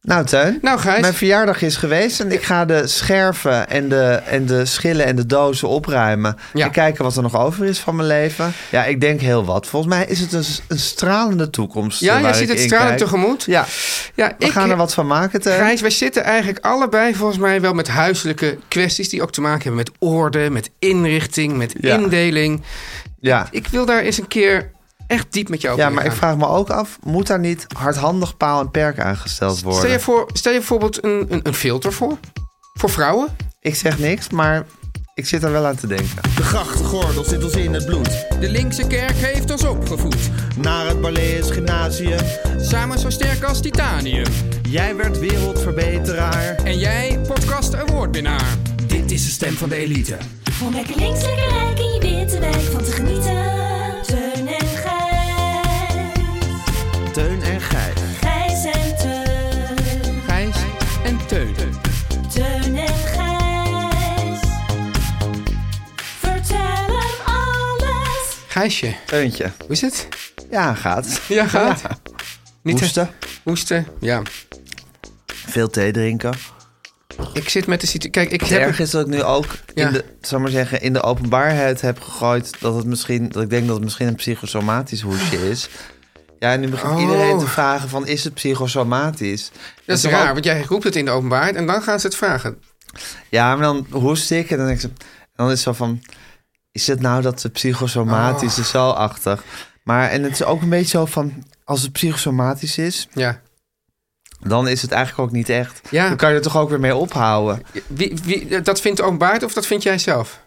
Nou, Teun. Nou, Gijs. Mijn verjaardag is geweest en ik ga de scherven en de, en de schillen en de dozen opruimen. Ja. En kijken wat er nog over is van mijn leven. Ja, ik denk heel wat. Volgens mij is het een, een stralende toekomst. Ja, eh, jij waar ziet ik het in stralend kijk. tegemoet. Ja, Ja, we ik, gaan er wat eh, van maken, Teun. Gijs, wij zitten eigenlijk allebei volgens mij wel met huiselijke kwesties... die ook te maken hebben met orde, met inrichting, met Ja. indeling. ja. Ik wil daar eens een keer echt diep met jou over ja, maar ik ingaan. vraag me ook af, moet daar niet hardhandig paal en perk aangesteld worden? Stel je, voor, stel je bijvoorbeeld een, een, een filter voor? Voor vrouwen? Ik zeg niks, maar ik zit er wel aan te denken. De grachtgordel zit ons in het bloed. De linkse kerk heeft ons opgevoed. Naar het Barlees Gymnasium. Samen zo sterk als titanium. Jij werd wereldverbeteraar. En jij, podcast awardwinnaar. Dit is de stem van de elite. Om lekker links, lekker rijk in je witte wijk van te genieten. Teun en Teun Gijs. en Gijs. Gijs en Teun. Gijs en Teun. Teun en Gijs. Vertel hem alles. Gijsje, Teuntje. hoe is het? Ja, gaat. Ja, gaat. Niet te- Hoesten. Hoesten, ja. Veel thee drinken. Ik zit met de situatie... Kijk, ik Het heb... erg is dat ik nu ook Ja. in, de, zal ik maar zeggen, in de openbaarheid heb gegooid dat het misschien, dat ik denk dat het misschien een psychosomatisch hoedje is. Ja, en nu begint Oh. iedereen te vragen van is het psychosomatisch? En Dat is toen raar, ook- want jij roept het in de openbaarheid en dan gaan ze het vragen. ja, maar dan hoest ik en dan, denk ik, zo- en dan is het zo van, is het nou dat het psychosomatisch Oh. is zo achtig? Maar en het is ook een beetje zo van, als het psychosomatisch is, Ja. dan is het eigenlijk ook niet echt. Ja. Dan kan je er toch ook weer mee ophouden. Wie, wie, dat vindt de openbaarheid of dat vind jij zelf?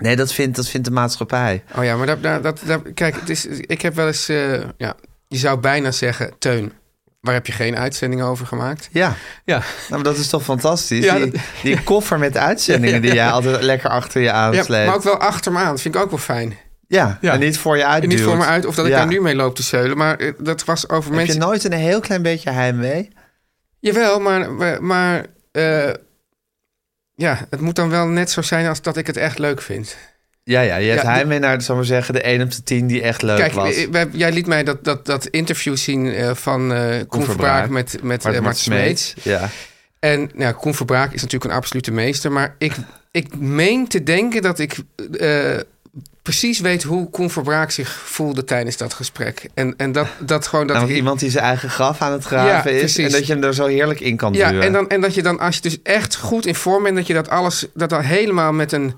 Nee, dat vindt, dat vindt de maatschappij. Oh ja, maar daar, daar, dat, daar, kijk, het is, ik heb wel eens... eh, ja, je zou bijna zeggen, Teun, waar heb je geen uitzending over gemaakt? Ja. Ja. Nou, maar dat is toch fantastisch? Ja, die, dat- die koffer met uitzendingen die jij altijd lekker achter je ja aansleept. maar ook wel achter me aan, dat vind ik ook wel fijn. Ja, Ja. en niet voor je En uitduwt. niet voor me uit of dat ik Ja. daar nu mee loop te zeulen, maar eh, dat was over Heb mensen... je nooit een heel klein beetje heimwee? Jawel, maar, maar- maar eh, ja, het moet dan wel net zo zijn als dat ik het echt leuk vind. Ja, ja, je hebt Ja, heimwee naar, zal ik maar zeggen, de 1 op de 10 die echt leuk Kijk, was. eh, wij- jij liet mij dat, dat, dat interview zien eh, van eh Koen Verbraak. Verbraak met, met Maar eh, het Mart Smeets. Ja. En nou, ja, Koen Verbraak is natuurlijk een absolute meester. Maar ik, ik meen te denken dat ik eh, precies weet hoe Koen Verbraak zich voelde tijdens dat gesprek. En, en dat, dat gewoon dat... Namelijk ik- iemand die zijn eigen graf aan het graven Ja, is. precies. En dat je hem er zo heerlijk in kan ja, duwen. en, dan, en dat je dan, als je dus echt goed in vorm bent, dat je dat alles, dat dat helemaal met een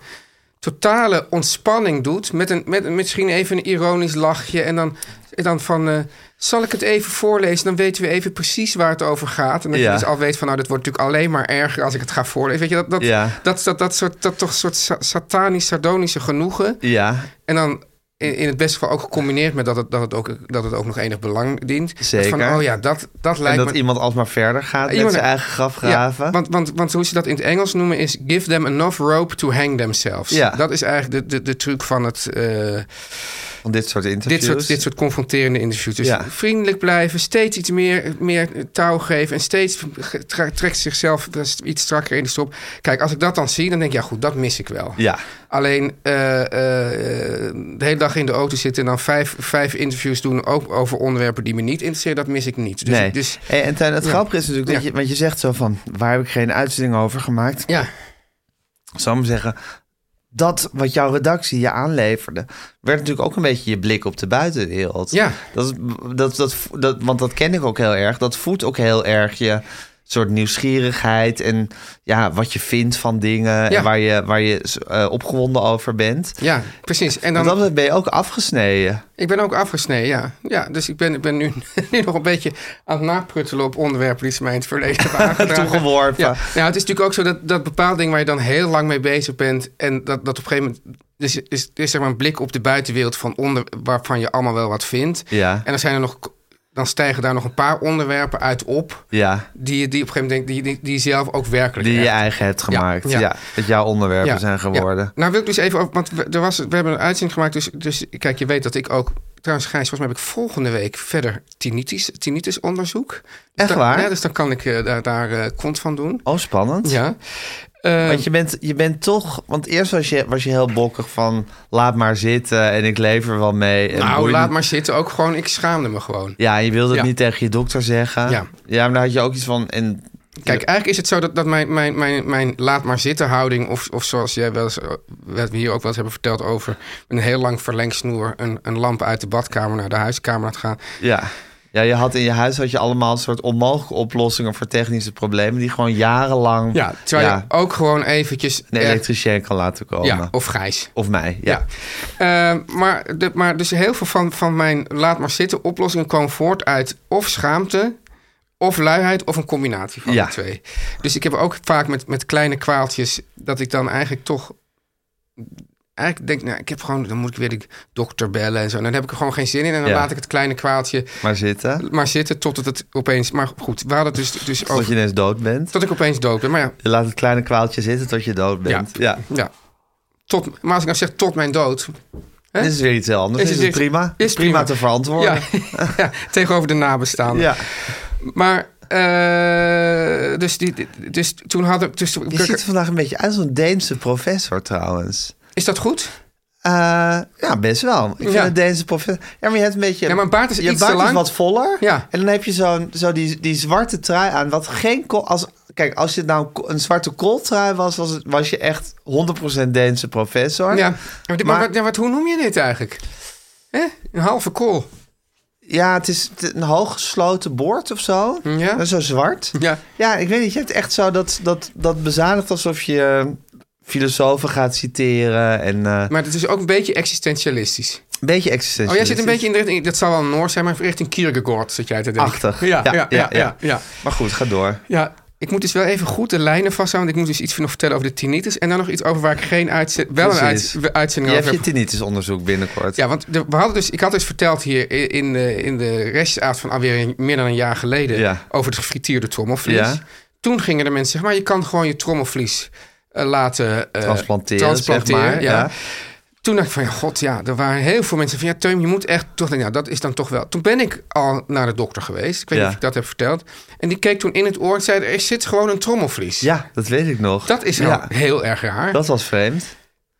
totale ontspanning doet. Met, een, met een- misschien even een ironisch lachje. En dan, en dan van, eh, zal ik het even voorlezen? Dan weten we even precies waar het over gaat. En dat Ja. je dus al weet van, nou, dat wordt natuurlijk alleen maar erger als ik het ga voorlezen. Weet je, dat, dat, Ja. dat, dat, dat soort, dat toch soort sa- satanisch, sardonische genoegen. Ja, En dan in, in het beste geval ook gecombineerd met dat het, dat het, ook, dat het ook nog enig belang dient. Zeker. Van, oh ja, dat, dat en lijkt dat me... iemand alsmaar verder gaat met Iemand- zijn eigen graf graven. Ja, Ja, want, want, want hoe ze dat in het Engels noemen is... give them enough rope to hang themselves. Ja. Dat is eigenlijk de, de, de truc van het, eh, Van dit soort interviews. dit, soort, dit soort confronterende interviews. Dus Ja. vriendelijk blijven, steeds iets meer, meer touw geven... en steeds tra- trekt zichzelf iets strakker in de strop. Kijk, als ik dat dan zie, dan denk ik... ja goed, dat mis ik wel. Ja, Alleen eh, eh, de hele dag in de auto zitten en dan vijf, vijf interviews doen... ook over onderwerpen die me niet interesseren, dat mis ik niet. Dus, nee. dus Hey, en Tuin, het grappige is natuurlijk, dat Ja. je, want je zegt zo van... waar heb ik geen uitzending over gemaakt? ja, zal ik maar zeggen, dat wat jouw redactie je aanleverde, werd natuurlijk ook een beetje je blik op de buitenwereld. Ja. Dat, is- dat, dat, dat, want dat ken ik ook heel erg. Dat voedt ook heel erg je soort nieuwsgierigheid en ja, wat je vindt van dingen Ja. en waar je, waar je eh, opgewonden over bent. Ja, precies. En Want dan, dat betreft ben je ook afgesneden. ik ben ook afgesneden, ja. ja dus ik ben, ik ben nu, nu nog een beetje aan het napruttelen op onderwerpen die ze mij in het verleden hebben aangedragen. Toegeworpen. Ja, nou, het is natuurlijk ook zo dat, dat bepaalde dingen waar je dan heel lang mee bezig bent. En dat, dat op een gegeven moment. Dus is, is, zeg maar een blik op de buitenwereld van onder, waarvan je allemaal wel wat vindt. Ja. En dan, zijn er nog, dan stijgen daar nog een paar onderwerpen uit op. Ja. Die, je- die op een gegeven moment denk, die, die, die je zelf ook werkelijk. Die je echt- eigen hebt Ja, gemaakt. ja. Ja, Dat jouw onderwerpen zijn geworden. ja. Nou wil ik dus even, over- want we, er was, we hebben een uitzending gemaakt, dus, dus kijk, je weet dat ik ook... Trouwens, Gijs, volgens mij heb ik volgende week verder tinnitus, tinnitus onderzoek. Echt waar? Ja, dus dan kan ik eh, daar, daar eh, kont van doen. Oh, spannend. Ja. Eh, Want je bent, je bent toch... Want eerst was je, was je heel bokkig van... laat maar zitten en ik lever wel mee. En nou, boeien. laat maar zitten. Ook gewoon, ik schaamde me gewoon. Ja, en je wilde het Ja. niet tegen je dokter zeggen. Ja. ja, maar daar had je ook iets van... En, Kijk, eigenlijk is het zo dat, dat mijn, mijn, mijn, mijn laat maar zitten houding... Of, of zoals jij wel eens, eh, wat we hier ook wel eens hebben verteld over... een heel lang verlengsnoer, een, een lamp uit de badkamer naar de huiskamer laat gaan. ja. ja, je had in je huis had je allemaal soort onmogelijke oplossingen... voor technische problemen die gewoon jarenlang... Ja, terwijl je ook gewoon eventjes... een eh, elektricien kan laten komen. Ja, of Gijs. Of mij, ja. Ja. Eh, maar, de, maar dus heel veel van, van mijn laat maar zitten oplossingen komen voort uit of schaamte, of luiheid, of een combinatie van Ja. de twee. Dus ik heb ook vaak met, met kleine kwaaltjes dat ik dan eigenlijk toch. Eigenlijk denk ik, nou, ik heb gewoon, dan moet ik weer de dokter bellen en zo. En dan heb ik er gewoon geen zin in. En dan Ja. laat ik het kleine kwaaltje Maar zitten, maar zitten totdat het opeens. Maar goed, we hadden het dus, dus tot over. je ineens dood bent. Tot ik opeens dood ben. Maar ja, Je laat het kleine kwaaltje zitten tot je dood bent. Ja. ja. Tot, maar als ik nou zeg tot mijn dood, Dit is weer iets heel anders. Is Is, het het weer- prima? is prima. prima. te verantwoorden. Ja, ja, tegenover de nabestaanden. Ja. Maar, eh, dus, die, die- dus toen hadden... Dus, Je ziet er vandaag een beetje uit als een Deense professor trouwens. is dat goed? Eh, ja, best wel. Ik vind Ja. een Deense professor... Ja, maar je hebt een beetje... Ja, maar een baard is je iets baard te lang. is wat voller. Ja. En dan heb je zo'n, zo die, die zwarte trui aan. Wat geen... ko- Als, kijk, als het nou een ko- een zwarte kooltrui was... was, het, was je echt 100% Deense professor. Ja. Maar, dit- maar Maar- wat, ja, wat, hoe noem je dit eigenlijk? Hè? Een halve kool. Ja, het is t- een hooggesloten boord of zo. Ja. En zo zwart. Ja. Ja, ik weet niet. Je hebt echt zo dat, dat, dat bezadigd alsof je eh, filosofen gaat citeren. En eh, Maar het is ook een beetje existentialistisch. een beetje Oh, existentieel. jij zit een beetje in de richting... Dat zal wel Noors zijn, maar richting Kierkegaard zit jij te denken. Achtig. Ja, ja, ja, ja, ja, ja. Maar goed, ga door. Ik moet dus wel even goed de lijnen vasthouden. Want ik moet dus iets nog vertellen over de tinnitus. En dan nog iets over waar ik geen uitzending... Wel een Precies. uitz- uitzending Je hebt je over heb. tinnitusonderzoek binnenkort. Ja, want de- we hadden dus, ik had dus verteld hier i- in de, in de restavond van alweer een- meer dan een jaar geleden Ja. over het gefrituurde trommelvlies. Ja. Toen gingen de mensen zeggen, maar je kan gewoon je trommelvlies eh, laten eh, Transplanteren, transplanteren, zeg maar. ja. Ja. Toen dacht ik van, ja, god, ja, er waren heel veel mensen van, ja, Teum, je moet echt, toch, nou, dat is dan toch wel. Toen ben ik al naar de dokter geweest, ik weet Ja. niet of ik dat heb verteld. En die keek toen in het oor en zei, er zit gewoon een trommelvlies. Ja, dat weet ik nog. Dat is ja. heel, heel erg raar. Dat was vreemd.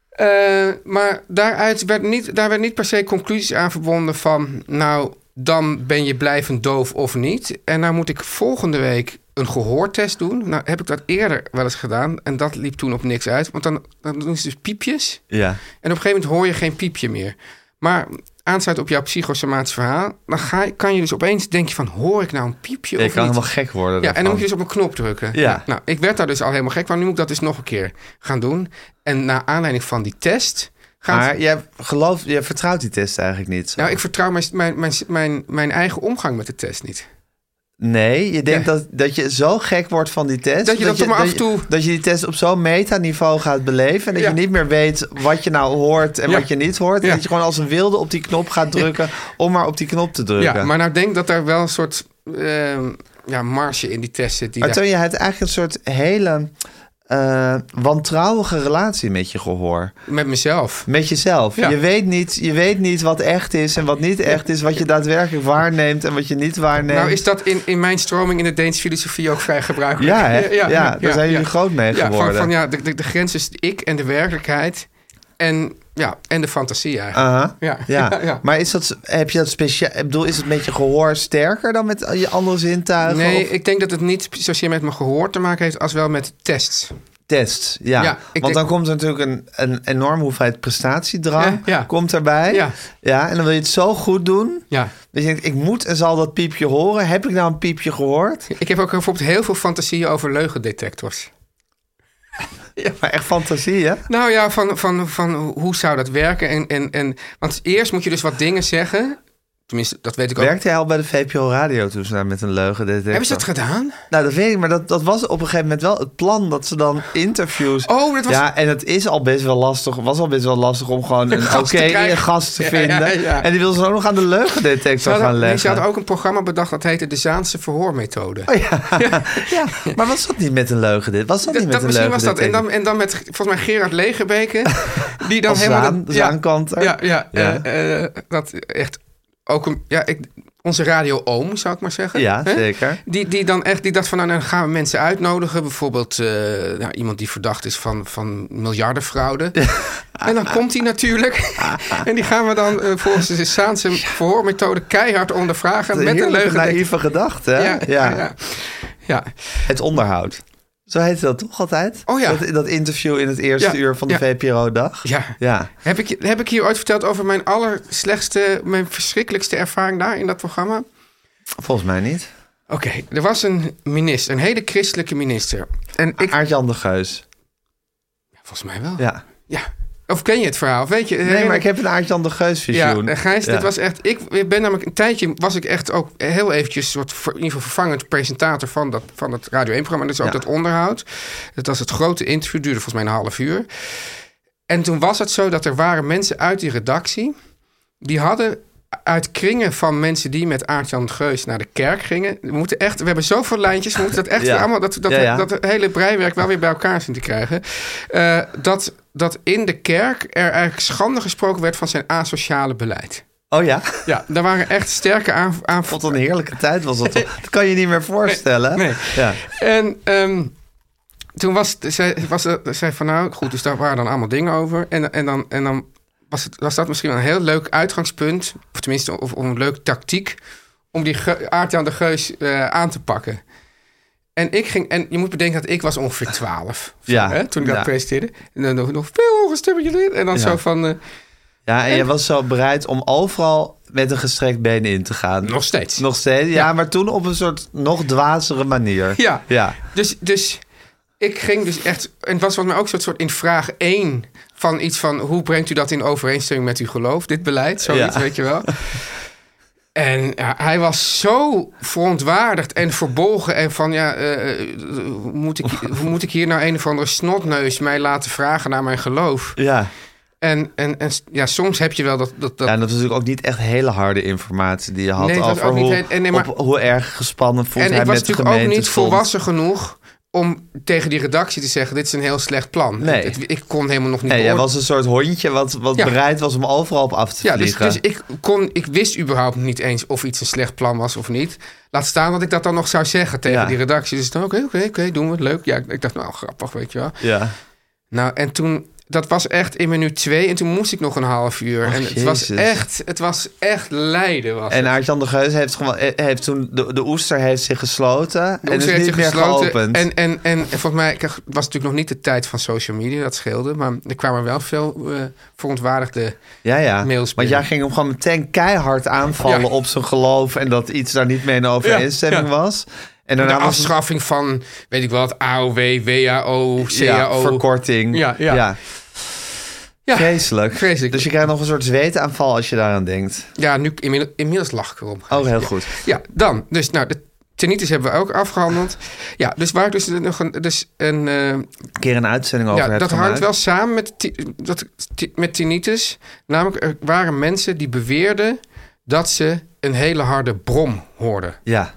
Eh, maar daaruit werd niet, daar werd niet per se conclusies aan verbonden van... nou, dan ben je blijvend doof of niet. En nou moet ik volgende week een gehoortest doen. Nou heb ik dat eerder wel eens gedaan en dat liep toen op niks uit. Want dan, dan doen ze dus piepjes Ja. en op een gegeven moment hoor je geen piepje meer. Maar aansluit op jouw psychosomatisch verhaal... dan ga, je- kan je dus opeens denken van, hoor ik nou een Je piepje kan of niet? helemaal gek worden Ja, en dan daarvan. moet je dus op een knop drukken. Ja. Nou, ik werd daar dus al helemaal gek van. Nu moet ik dat dus nog een keer gaan doen. En naar aanleiding van die test gaat... Maar jij, gelooft, jij vertrouwt die test eigenlijk niet. zo. Nou, ik vertrouw mijn, mijn, mijn, mijn, mijn eigen omgang met de test niet. Nee, je denkt Ja. dat, dat je zo gek wordt van die test. Dat je dat toch maar af en toe- je- Dat je die test op zo'n metaniveau gaat beleven. En dat Ja. je niet meer weet wat je nou hoort en Ja. wat je niet hoort. En Ja. dat je gewoon als een wilde op die knop gaat drukken. Om maar op die knop te drukken. Ja, maar nou denk ik dat daar wel een soort ehm, ja, marge in die test zit. Die Maar daar- toen je hebt eigenlijk een soort hele eh, wantrouwige relatie met je gehoor. Met mezelf. Met jezelf. Ja. Je, weet niet, je weet niet wat echt is en wat niet echt is. Wat je daadwerkelijk waarneemt en wat je niet waarneemt. Nou is dat in, in mijn stroming in de Deense filosofie ook vrij gebruikelijk. Ja, hè? Ja, daar zijn jullie groot mee Ja, van- geworden. Van, ja, de, de, de grens tussen ik en de werkelijkheid en, ja, en de fantasie eigenlijk. Aha. Ja. Ja. Ja, ja. maar is dat, heb je dat speciaal? Ik bedoel, is het met je gehoor sterker dan met je andere zintuigen? Nee, Of- ik denk dat het niet zozeer met mijn gehoor te maken heeft als wel met tests. test. Ja, Ja, ik want denk- dan komt er natuurlijk een, een enorme hoeveelheid prestatiedrang Ja, ja. komt erbij. Ja. ja, en dan wil je het zo goed doen. Ja. Dat je denkt, ik moet en zal dat piepje horen. Heb ik nou een piepje gehoord? Ik heb ook bijvoorbeeld heel veel fantasieën over leugendetectors. Ja, maar echt fantasie, hè? Nou ja, van, van, van hoe zou dat werken? En, en, en, want eerst moet je dus wat dingen zeggen. Tenminste, dat weet ik ook. Werkte jij al bij de VPO Radio toen ze daar met een leugen deed? Hebben ze dat gedaan? Nou, dat weet ik, maar dat, dat was op een gegeven moment wel het plan dat ze dan interviews. Oh, dat was- Ja, en het is al best wel lastig. Was al best wel lastig om gewoon een oké gast te krijgen. gast te Ja, vinden. ja, ja. En die wil ze dan ook nog aan de Ze leugendetector hadden, gaan nee, ze leggen. Oh, hadden ook een programma bedacht dat heette de Zaanse verhoormethode. Ja, maar was dat niet met een leugendetector? Was dat, Dat- niet met dat, een misschien was dat. En leugendetector? dan, en dan met volgens mij Gerard Legerbeke. Die dan Als helemaal. Zaan- dat, Zaankanter. Ja, ja, Ja. eh, eh, dat echt ook een. Ja, ik, onze radio-oom, zou ik maar zeggen. Ja, Hè? zeker. Die, die dan echt die dacht van, nou, dan gaan we mensen uitnodigen. Bijvoorbeeld eh, nou, iemand die verdacht is van, van miljardenfraude. En dan komt hij natuurlijk. en die gaan we dan eh, volgens de Saanse verhoormethode keihard ondervragen. Met een Heerlijke leugen. naïeve gedachte, hè? Ja, ja. ja. ja. Het onderhoud. Zo heette dat toch altijd? Oh ja. Dat, dat interview in het eerste Ja, uur van de ja. VPRO-dag. Ja. Ja. Heb, ik, heb ik hier ooit verteld over mijn allerslechtste, mijn verschrikkelijkste ervaring daar in dat programma? Volgens mij niet. Oké, er was een minister, een hele christelijke minister. En ik, Oh. Aart-Jan de Geus. volgens mij wel. Ja. Ja. Of ken je het verhaal? Of Weet je? Nee, maar ik heb een Aart-Jan de Ja, Geus-visioen. eh, Gijs, dit Ja. was echt... Ik ben namelijk een tijdje, was ik echt ook heel eventjes... Soort, ver- in ieder geval vervangend presentator van dat, van dat Radio 1-programma. Dus ook Ja. dat onderhoud. Dat was het grote interview, duurde volgens mij een half uur. En toen was het zo dat er waren mensen uit die redactie... die hadden uit kringen van mensen die met Aart-Jan Geus naar de kerk gingen... We, moeten echt, we hebben zoveel lijntjes, we moeten dat echt Ja. weer allemaal... Dat, dat, Ja, ja. dat hele breiwerk wel weer bij elkaar zien te krijgen... Eh, dat, dat in de kerk er eigenlijk schande gesproken werd van zijn asociale beleid. Oh ja? Ja, daar waren echt sterke aan, aan Wat een heerlijke tijd was dat. toch? Dat kan je niet meer voorstellen. Nee. Ja. En ehm, toen was, zij, was er- zei van nou goed, dus daar waren dan allemaal dingen over. En, en dan, en dan was, het, was dat misschien wel een heel leuk uitgangspunt, of tenminste of, of een leuk tactiek, om die ge- aard aan de geus eh, aan te pakken. En ik ging, en je moet bedenken dat ik was ongeveer 12. of zo, Ja. hè, toen ik dat Ja. presenteerde. En dan nog, nog veel hoger stemmetje erin. En dan Ja. zo van. eh, ja, en je was zo bereid om overal met een gestrekt been in te gaan. Nog steeds. Nog steeds, ja, Ja. maar toen op een soort nog dwazere manier. Ja. Ja. Dus, dus ik ging dus echt... En het was wat mij ook zo'n soort in vraag 1 van iets van... hoe brengt u dat in overeenstemming met uw geloof, dit beleid? Zoiets, Ja. weet je wel. En ja, hij was zo verontwaardigd en verbolgen. En van, ja, eh, eh, moet, ik, moet ik hier nou een of andere snotneus mij laten vragen naar mijn geloof? Ja. En, en, en ja, soms heb je wel dat... dat, dat Ja, en dat was natuurlijk ook niet echt hele harde informatie die je had Nee, het was over ook niet hoe, heel- en nee, maar- op, hoe erg gespannen voelt en hij ik was met de natuurlijk ook gemeente niet stond. volwassen genoeg... om tegen die redactie te zeggen, dit is een heel slecht plan. Nee. Het- het- ik kon helemaal nog niet Nee, jij beoordelen. was een soort hondje wat, wat Ja. bereid was om overal op af te Ja, dus, vliegen. dus ik, kon, ik wist überhaupt niet eens of iets een slecht plan was of niet. Laat staan dat ik dat dan nog zou zeggen tegen Ja. die redactie. Dus dan, oké, oké, oké, doen we het leuk. Ja, ik, ik dacht, nou, grappig, weet je wel. Ja. Nou, en toen, dat was echt in minuut twee. En toen moest ik nog een half uur. en het was Jezus. echt, het was echt lijden. Was En het. Aart-Jan de Geus heeft, gewoon, eh, heeft toen... De, de oester heeft zich gesloten De en is oester niet heeft meer zich gesloten. geopend. En, en, en, en volgens mij, kijk, het was natuurlijk nog niet de tijd van social media, dat scheelde. Maar er kwamen wel veel eh, verontwaardigde... Ja, ja. Want mails binnen. jij ging hem gewoon meteen keihard aanvallen Ja. op zijn geloof en dat iets daar niet mee in overeenstemming Ja, was. En De daarna was het afschaffing van, weet ik wat, AOW, WHO, ja, CAO. verkorting. E Ja, ja. Ja. Vreselijk. Vreselijk. Dus je krijgt nog een soort zweetaanval als je daaraan denkt. Ja, nu inmiddels, inmiddels lach ik erom. Oh, heel goed. Ja, dan. Dus nou, de tinnitus hebben we ook afgehandeld. Ja, dus waar ik dus nog een... Dus een eh, Een keer een uitzending over ja, hebt dat hangt gemaakt. wel samen met, ti- dat, ti- met tinnitus. Namelijk, er waren mensen die beweerden dat ze een hele harde brom hoorden. Ja.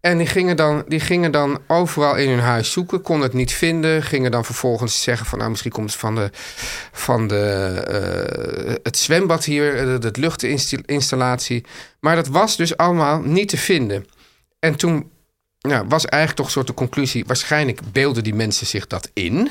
En die gingen, dan, die gingen dan overal in hun huis zoeken, konden het niet vinden. Gingen dan vervolgens zeggen van nou, misschien komt het van, de, van de, eh, het zwembad hier, eh, de, de luchtinstallatie. Maar dat was dus allemaal niet te vinden. En toen ja, was eigenlijk toch een soort de conclusie, waarschijnlijk beelden die mensen zich dat in.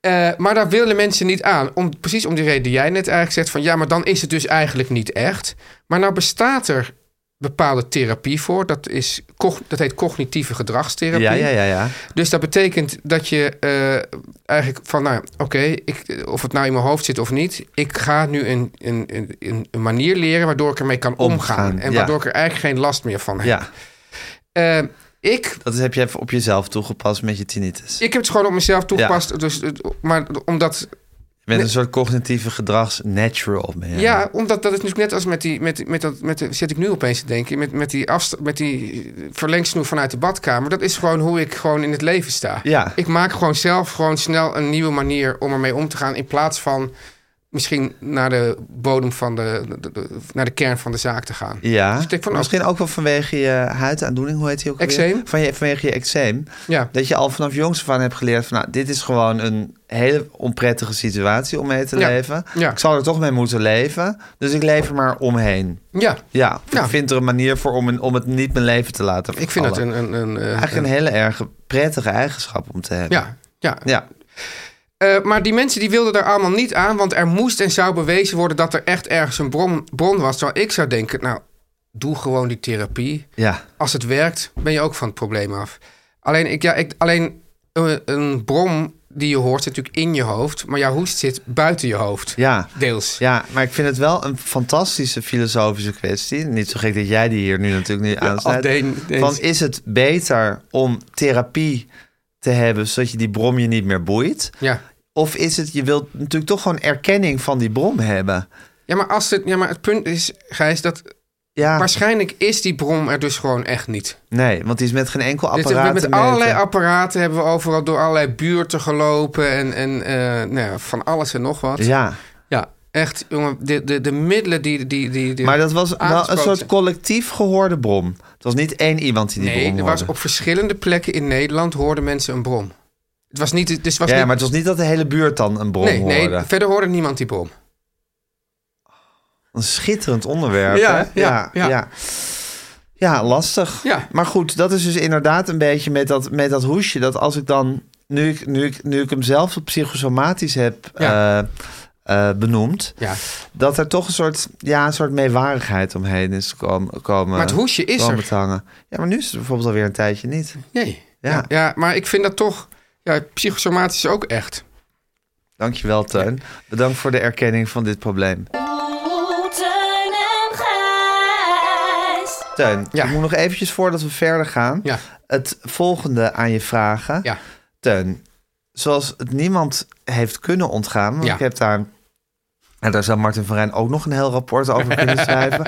Eh, maar daar willen mensen niet aan. Om, precies om die reden die jij net eigenlijk zegt van ja, maar dan is het dus eigenlijk niet echt. Maar nou bestaat er bepaalde therapie voor. Dat, is, cog- dat heet cognitieve gedragstherapie. Ja, ja, ja, ja. Dus dat betekent dat je eh, eigenlijk van, nou oké, ik- of het nou in mijn hoofd zit of niet, ik ga nu een, een, een, een manier leren waardoor ik ermee kan omgaan. Omgaan, en ja. waardoor ik er eigenlijk geen last meer van heb. Ja, Eh, ik, dat heb je even op jezelf toegepast met je tinnitus. ik heb het gewoon op mezelf toegepast, dus, eh, maar omdat Je bent een soort cognitieve gedrags-natural. ben je. Ja, omdat dat is natuurlijk net als met die, met, met dat, met de, zit ik nu opeens te denken, met, met die, afsta- met die verlengsnoer vanuit de badkamer. Dat is gewoon hoe ik gewoon in het leven sta. Ja. Ik maak gewoon zelf gewoon snel een nieuwe manier om ermee om te gaan, in plaats van misschien naar de bodem van de, de- de- naar de kern van de zaak te gaan. Ja, Dus ik denk van, Maar misschien ook wel vanwege je huidaandoening, hoe heet die ook alweer? Eczeem? Van je, vanwege je eczeem. Ja. Dat je al vanaf jongs af aan hebt geleerd van... nou, dit is gewoon een hele onprettige situatie om mee te Ja. leven. Ja. Ik zal er toch mee moeten leven. Dus ik leef er maar omheen. Ja, Ja, Ja. ik vind er een manier voor om, een, om het niet mijn leven te laten ik vind dat vervallen. een... een, een, eh, Eigenlijk een hele erg prettige eigenschap om te hebben. ja, ja. Ja, Eh, maar die mensen die wilden daar allemaal niet aan, want er moest en zou bewezen worden dat er echt ergens een bron, bron was. Terwijl ik zou denken, nou, doe gewoon die therapie. ja. Als het werkt, ben je ook van het probleem af. Alleen, ik, ja, ik, alleen eh, een bron die je hoort zit natuurlijk in je hoofd, maar jouw hoest zit buiten je hoofd. ja. Deels. Ja, maar ik vind het wel een fantastische filosofische kwestie. Niet zo gek dat jij die hier nu natuurlijk niet aansluit. al deen- deens. Van is het beter om therapie te hebben zodat je die brom je niet meer boeit? Ja. Of is het, je wilt natuurlijk toch gewoon erkenning van die brom hebben? Ja, maar als het, ja, maar het punt is, Gijs, dat Ja, waarschijnlijk is die bron er dus gewoon echt niet. nee, want die is met geen enkel Dit- apparaat te met meten. allerlei apparaten hebben we overal door allerlei buurten gelopen en, en eh, nou ja, van alles en nog wat. Ja, Ja, echt, jongen, de, de, de middelen die, die, die, die- maar dat was wel een aangesproken soort zijn. collectief gehoorde brom. Het was niet één iemand die die Nee, brom er hoorde. was op verschillende plekken in Nederland hoorden mensen een brom. Het was niet... Dus het was ja, niet maar het was niet dat de hele buurt dan een brom nee, hoorde. nee, verder hoorde niemand die brom. Een schitterend onderwerp. Ja, hè? ja, ja. ja. ja. Ja, lastig. Ja. Maar goed, dat is dus inderdaad een beetje met dat, met dat hoesje. Dat als ik dan, nu ik, nu ik, nu ik hem zelf psychosomatisch heb Ja. eh, eh, benoemd, Ja. dat er toch een soort, ja, een soort meewarigheid omheen is komen. komen Maar het hoesje is komen er. te hangen. Ja, maar nu is het bijvoorbeeld alweer een tijdje niet. Nee. Ja. Ja. ja, maar ik vind dat toch... Ja, psychosomatisch ook echt. Dankjewel, Teun. Bedankt voor de erkenning van dit probleem. Oh, Teun en Gijs. Teun, Ja. ik moet nog eventjes voordat we verder gaan... Ja. het volgende aan je vragen. Ja. Teun, zoals het niemand heeft kunnen ontgaan... want Ja. ik heb daar... En daar zou Martin van Rijn ook nog een heel rapport over kunnen schrijven.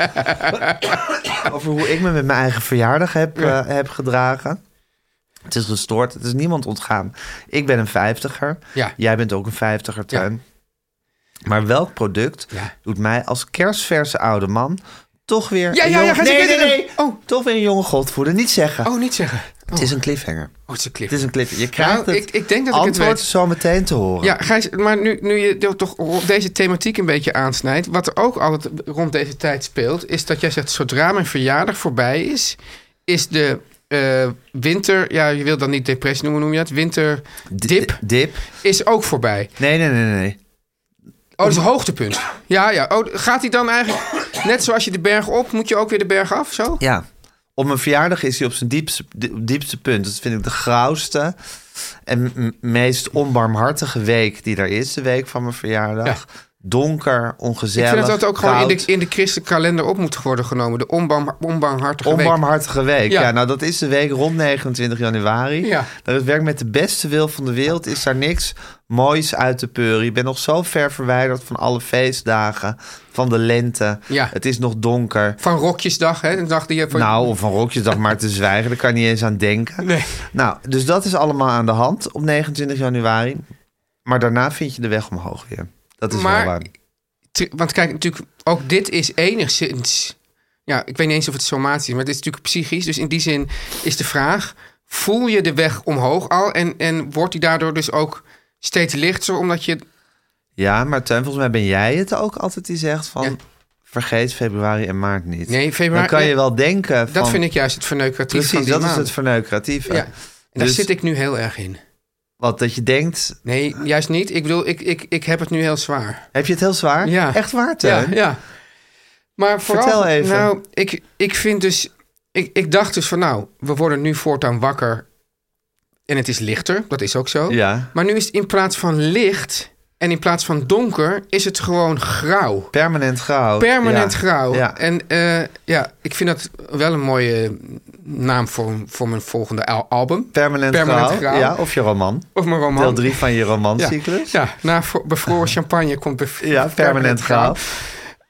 over hoe ik me met mijn eigen verjaardag heb, eh, heb gedragen. Het is gestoord, het is niemand ontgaan. Ik ben een vijftiger. Ja. Jij bent ook een vijftiger, Teun. Maar welk product Ja. doet mij als kerstverse oude man... toch weer Ja, een ja, ja, jonge- ga nee, zitten, nee, zitten. nee. Oh. Toch weer een jonge god voeden. Niet zeggen. Oh, niet zeggen. Oh, Het is een cliffhanger. oh, het is een clip. Het is een cliffhanger. Je krijgt Nou, het ik- ik denk dat ik het antwoord weet. zo meteen te horen. Ja, Gijs, maar nu, nu je dit toch rond deze thematiek een beetje aansnijdt... wat er ook altijd rond deze tijd speelt... is dat jij zegt, zodra mijn verjaardag voorbij is... is de eh, winter... ja, je wilt dan niet depressie noemen, noem je dat? D- Winterdip Dip. is ook voorbij. Nee, nee, nee, nee, nee. Oh, dat is een hoogtepunt. Ja, ja. Oh, gaat hij dan eigenlijk... net zoals je de berg op, moet je ook weer de berg af, zo? Ja. Op mijn verjaardag is hij op zijn diepste, di- diepste punt. Dat vind ik de grauwste en m- meest onbarmhartige week die er is. De week van mijn verjaardag. Donker, Ik ongezellig, vind dat dat ook gewoon in de, koud. in de christelijke kalender op moet worden genomen. De onbarm, onbarmhartige week. Onbarmhartige week. Ja. Ja. nou dat is de week rond 29 januari. Ja. Dat het werkt met de beste wil van de wereld. Is daar niks moois uit te peuren. Je bent nog zo ver verwijderd van alle feestdagen. Van de lente. Ja. Het is nog donker. Van rokjesdag, hè? Een dag die je... Van... Nou, of een rokjesdag maar te zwijgen. Daar kan je niet eens aan denken. Nee. Nou, dus dat is allemaal aan de hand op 29 januari. Maar daarna vind je de weg omhoog weer. Dat is Maar- wel waar. Te- Want kijk, natuurlijk, ook dit is enigszins. Ja, ik weet niet eens of het somatisch is, maar dit is natuurlijk psychisch. Dus in die zin is de vraag: voel je de weg omhoog al? En, en wordt die daardoor dus ook steeds lichter? Omdat je. Ja, maar Tuin, volgens mij ben jij het ook altijd die zegt van... Ja. vergeet februari en maart niet. Nee, februari- Dan kan je nee. wel denken van... Dat vind ik juist het verneukeratief Precies, van die dat is maand. het verneukeratieve. Ja, en daar Dus- zit ik nu heel erg in. Wat, dat je denkt... Nee, juist niet. Ik bedoel, ik, ik, ik heb het nu heel zwaar. Heb je het heel zwaar? Ja. Echt waar, Ja, Teun? ja. Maar vooral, Vertel even. Nou, ik, ik vind dus... Ik, ik dacht dus van nou, we worden nu voortaan wakker. En het is lichter, dat is ook zo. Ja. Maar nu is het in plaats van licht en in plaats van donker... is het gewoon grauw. Permanent grauw. Permanent Oh, Ja. grauw. Ja. En eh, ja, ik vind dat wel een mooie naam voor, voor mijn volgende al- album. Permanent, Permanent grauw. grauw. Ja, of je roman. Of mijn roman. Deel 3 van je romancyclus. Ja, na vo- bevroren champagne komt bev- Ja, permanent, grauw.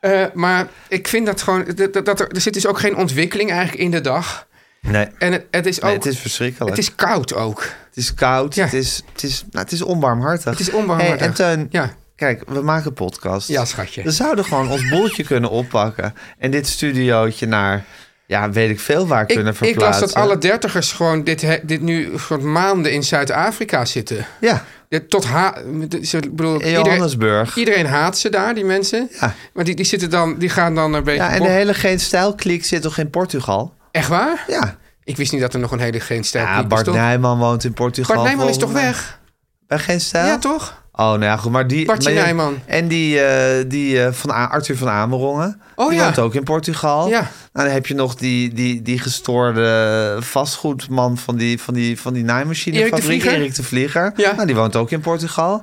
Eh, maar ik vind dat gewoon... Dat, dat- dat er, er zit dus ook geen ontwikkeling eigenlijk in de dag. Nee. En het, het is ook... Nee, het is verschrikkelijk. het is koud ook. Het is koud. Ja. Het, is, het, is, nou, het is onbarmhartig. Het is onbarmhartig. Hey, en Teun, Ja. kijk, we maken podcasts. Ja, schatje. We zouden gewoon ons boeltje kunnen oppakken. En dit studiootje naar, ja, weet ik veel waar Ik, kunnen ik verplaatsen. las dat alle dertigers gewoon dit, he- dit nu soort maanden in Zuid-Afrika zitten. Ja, Dit Tot ha ze- ik bedoel, in iedereen, Johannesburg. iedereen haat ze daar, die mensen. Ja. Maar die, die, zitten dan, die gaan dan een beetje... Ja, en bo- de hele Geen Stijl-kliek zit toch in Portugal? Echt waar? Ja. Ik wist niet dat er nog een hele geen sterke Ja, Bart bestond. Nijman woont in Portugal. Bart Nijman is toch volgens mij. weg? Bij Geen Stijl? Ja, toch? Oh, nou ja, goed. Maar die... Bartje maar je- Nijman. En die, eh, die eh, van A- Arthur van Amerongen. Oh, die ja. woont ook in Portugal. Ja. Nou, dan heb je nog die, die, die gestoorde vastgoedman van die, van die, van die naaimachinefabriek. Erik de Vlieger. Erik de Vlieger. Ja. Nou, die woont ook in Portugal.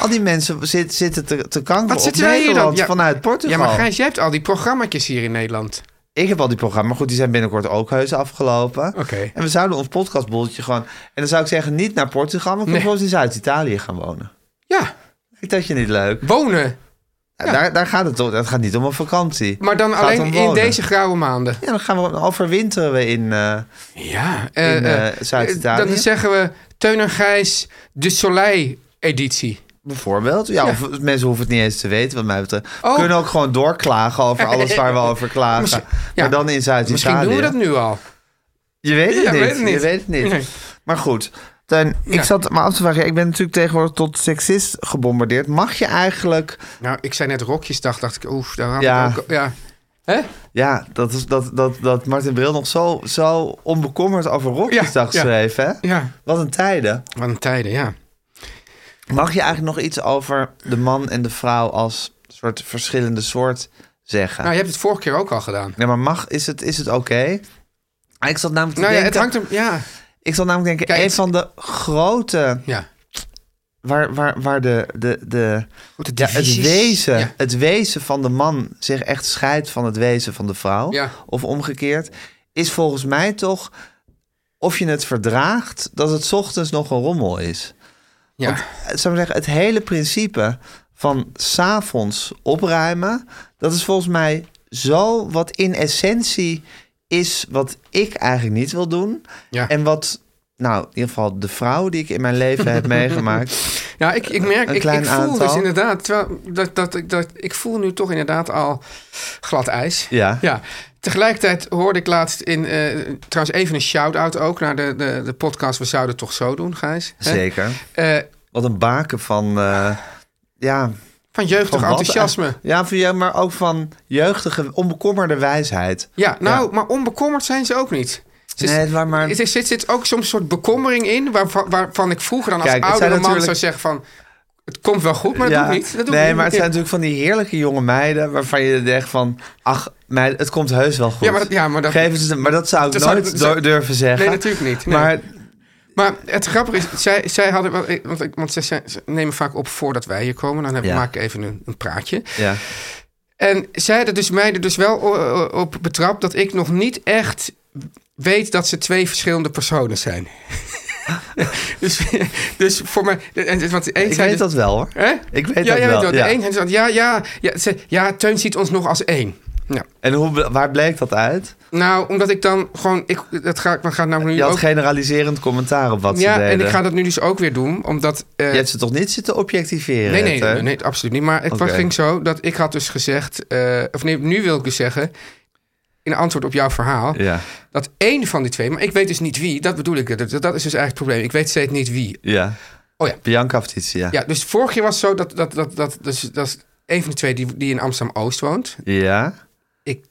Al die mensen zit, zitten te, te kankeren Wat op zitten wij hier dan? Nederland vanuit Portugal. Ja, maar Gijs, jij hebt al die programma's hier in Nederland. Ik heb al die programma's, maar goed, die zijn binnenkort ook heus afgelopen. Oké. En we zouden ons podcastbolletje gewoon... En dan zou ik zeggen, niet naar Portugal, maar Nee. bijvoorbeeld in Zuid-Italië gaan wonen. Ja, Ik dat je niet leuk. wonen. Daar, daar gaat het om. Het gaat niet om een vakantie. Maar dan Het gaat alleen om in wonen. deze grauwe maanden. Ja, dan gaan we dan overwinteren we in. eh, Ja. In, eh, Zuid-Italië. Dan zeggen we Teun en Gijs de Soleil-editie. bijvoorbeeld. Ja, Of, mensen hoeven het niet eens te weten, wat mij betreft. Oh. Kunnen ook gewoon doorklagen over alles waar we over klagen. Misschien- ja. Maar dan in Zuid-Italië. Misschien doen we dat nu al. Je weet het, Ja, niet. weet het niet. Je weet het niet. Nee. Maar goed. Dan, Ja. Ik zat me af te vragen. Ik ben natuurlijk tegenwoordig tot seksist gebombardeerd. Mag je eigenlijk. Nou, ik zei net rokjesdag, dacht ik, oef, daar had Ja. ik ook... Ja. Hè? Ja, dat, is, dat, dat, dat Martin Bril nog zo, zo onbekommerd over Rokjesdag Ja, ja. schreef. Hè? Ja, Wat een tijden. wat een tijden, ja. Mag je eigenlijk nog iets over de man en de vrouw als soort verschillende soort zeggen? Nou, je hebt het vorige keer ook al gedaan. Ja, maar mag, is het, is het oké? Ah, Ik zat namelijk te Nou ja, denken, het hangt er... Ja, ik zat namelijk denken Kijk, een het- van de grote, ja. waar, waar, waar de, de, de, Goed, ja, het, wezen, Ja. het wezen van de man zich echt scheidt van het wezen van de vrouw, Ja. of omgekeerd, is volgens mij toch of je het verdraagt dat het 's ochtends nog een rommel is. Ja. het, Eh, zou ik zeggen, het hele principe van s'avonds opruimen, dat is volgens mij zo wat in essentie is wat ik eigenlijk niet wil doen. Ja. En wat, nou, in ieder geval de vrouw die ik in mijn leven heb meegemaakt. Ja, ik, ik merk, Een ik, klein ik voel dus aantal. inderdaad, terwijl, dat, dat, ik- dat, ik voel nu toch inderdaad al glad ijs. Ja. ja. Tegelijkertijd hoorde ik laatst in, eh, trouwens even een shout-out ook naar de, de, de podcast We Zouden Toch Zo Doen, Gijs. Hè? Zeker. Eh, Wat een baken van, eh, ja... van jeugdig van wat? enthousiasme. Ja, van, ja, maar ook van jeugdige, onbekommerde wijsheid. Ja, nou, maar onbekommerd zijn ze ook niet. Ze is- Nee, het waren maar- er zit, zit ook soms een soort bekommering in, waarvan, waarvan ik vroeger dan als Kijk, het oude zijn man natuurlijk- zou zeggen van... Het komt wel goed, maar dat Ja. doe ik niet. Dat doe ik nee, niet. maar het zijn natuurlijk van die heerlijke jonge meiden... waarvan je denkt van... ach, meiden, het komt heus wel goed. Ja, maar dat- ja, maar dat- Geven ze, maar dat zou ik Dat zou nooit ik- zou- dur- durven zeggen. Nee, natuurlijk niet. Nee. Maar Maar het grappige is, zij, zij hadden, wel- eh, want, ik- want zij, zij- ze nemen vaak op voordat wij hier komen. Dan hebben, Ja. maak ik even een, een praatje. ja, En zij hadden dus mij er dus wel o- o- op betrapt dat ik nog niet echt weet dat ze twee verschillende personen zijn. dus, dus voor mij, en- want de een ik zei weet dus- dat wel hoor. Hè? Ik weet ja, dat jij wel, Weet wel. ja. De een zei, dus, ja, ja, ja, ze- ja, Teun ziet ons nog als één. Ja. En hoe, ble- waar bleek dat uit? Nou, omdat ik dan gewoon, ik, dat ga, ik- we gaan namelijk Je nu had ook... generaliserend commentaar op wat ze ja, deden. en ik ga dat nu dus ook weer doen, omdat... eh, Je hebt ze toch niet zitten objectiveren? Nee, nee, hè? nee, nee, absoluut niet. Maar het Oké. ging zo dat ik had dus gezegd... eh, of nee, nu wil ik dus zeggen... in antwoord op jouw verhaal... Ja, dat één van die twee... maar ik weet dus niet wie, dat bedoel ik. Dat, dat is dus eigenlijk het probleem. Ik weet steeds niet wie. ja. Oh ja. Bianca Ftitia. Ja, dus vorig jaar was het zo dat... dat, dat, dat, dus, dat is één van de twee die, die in Amsterdam-Oost woont. Ja. Ik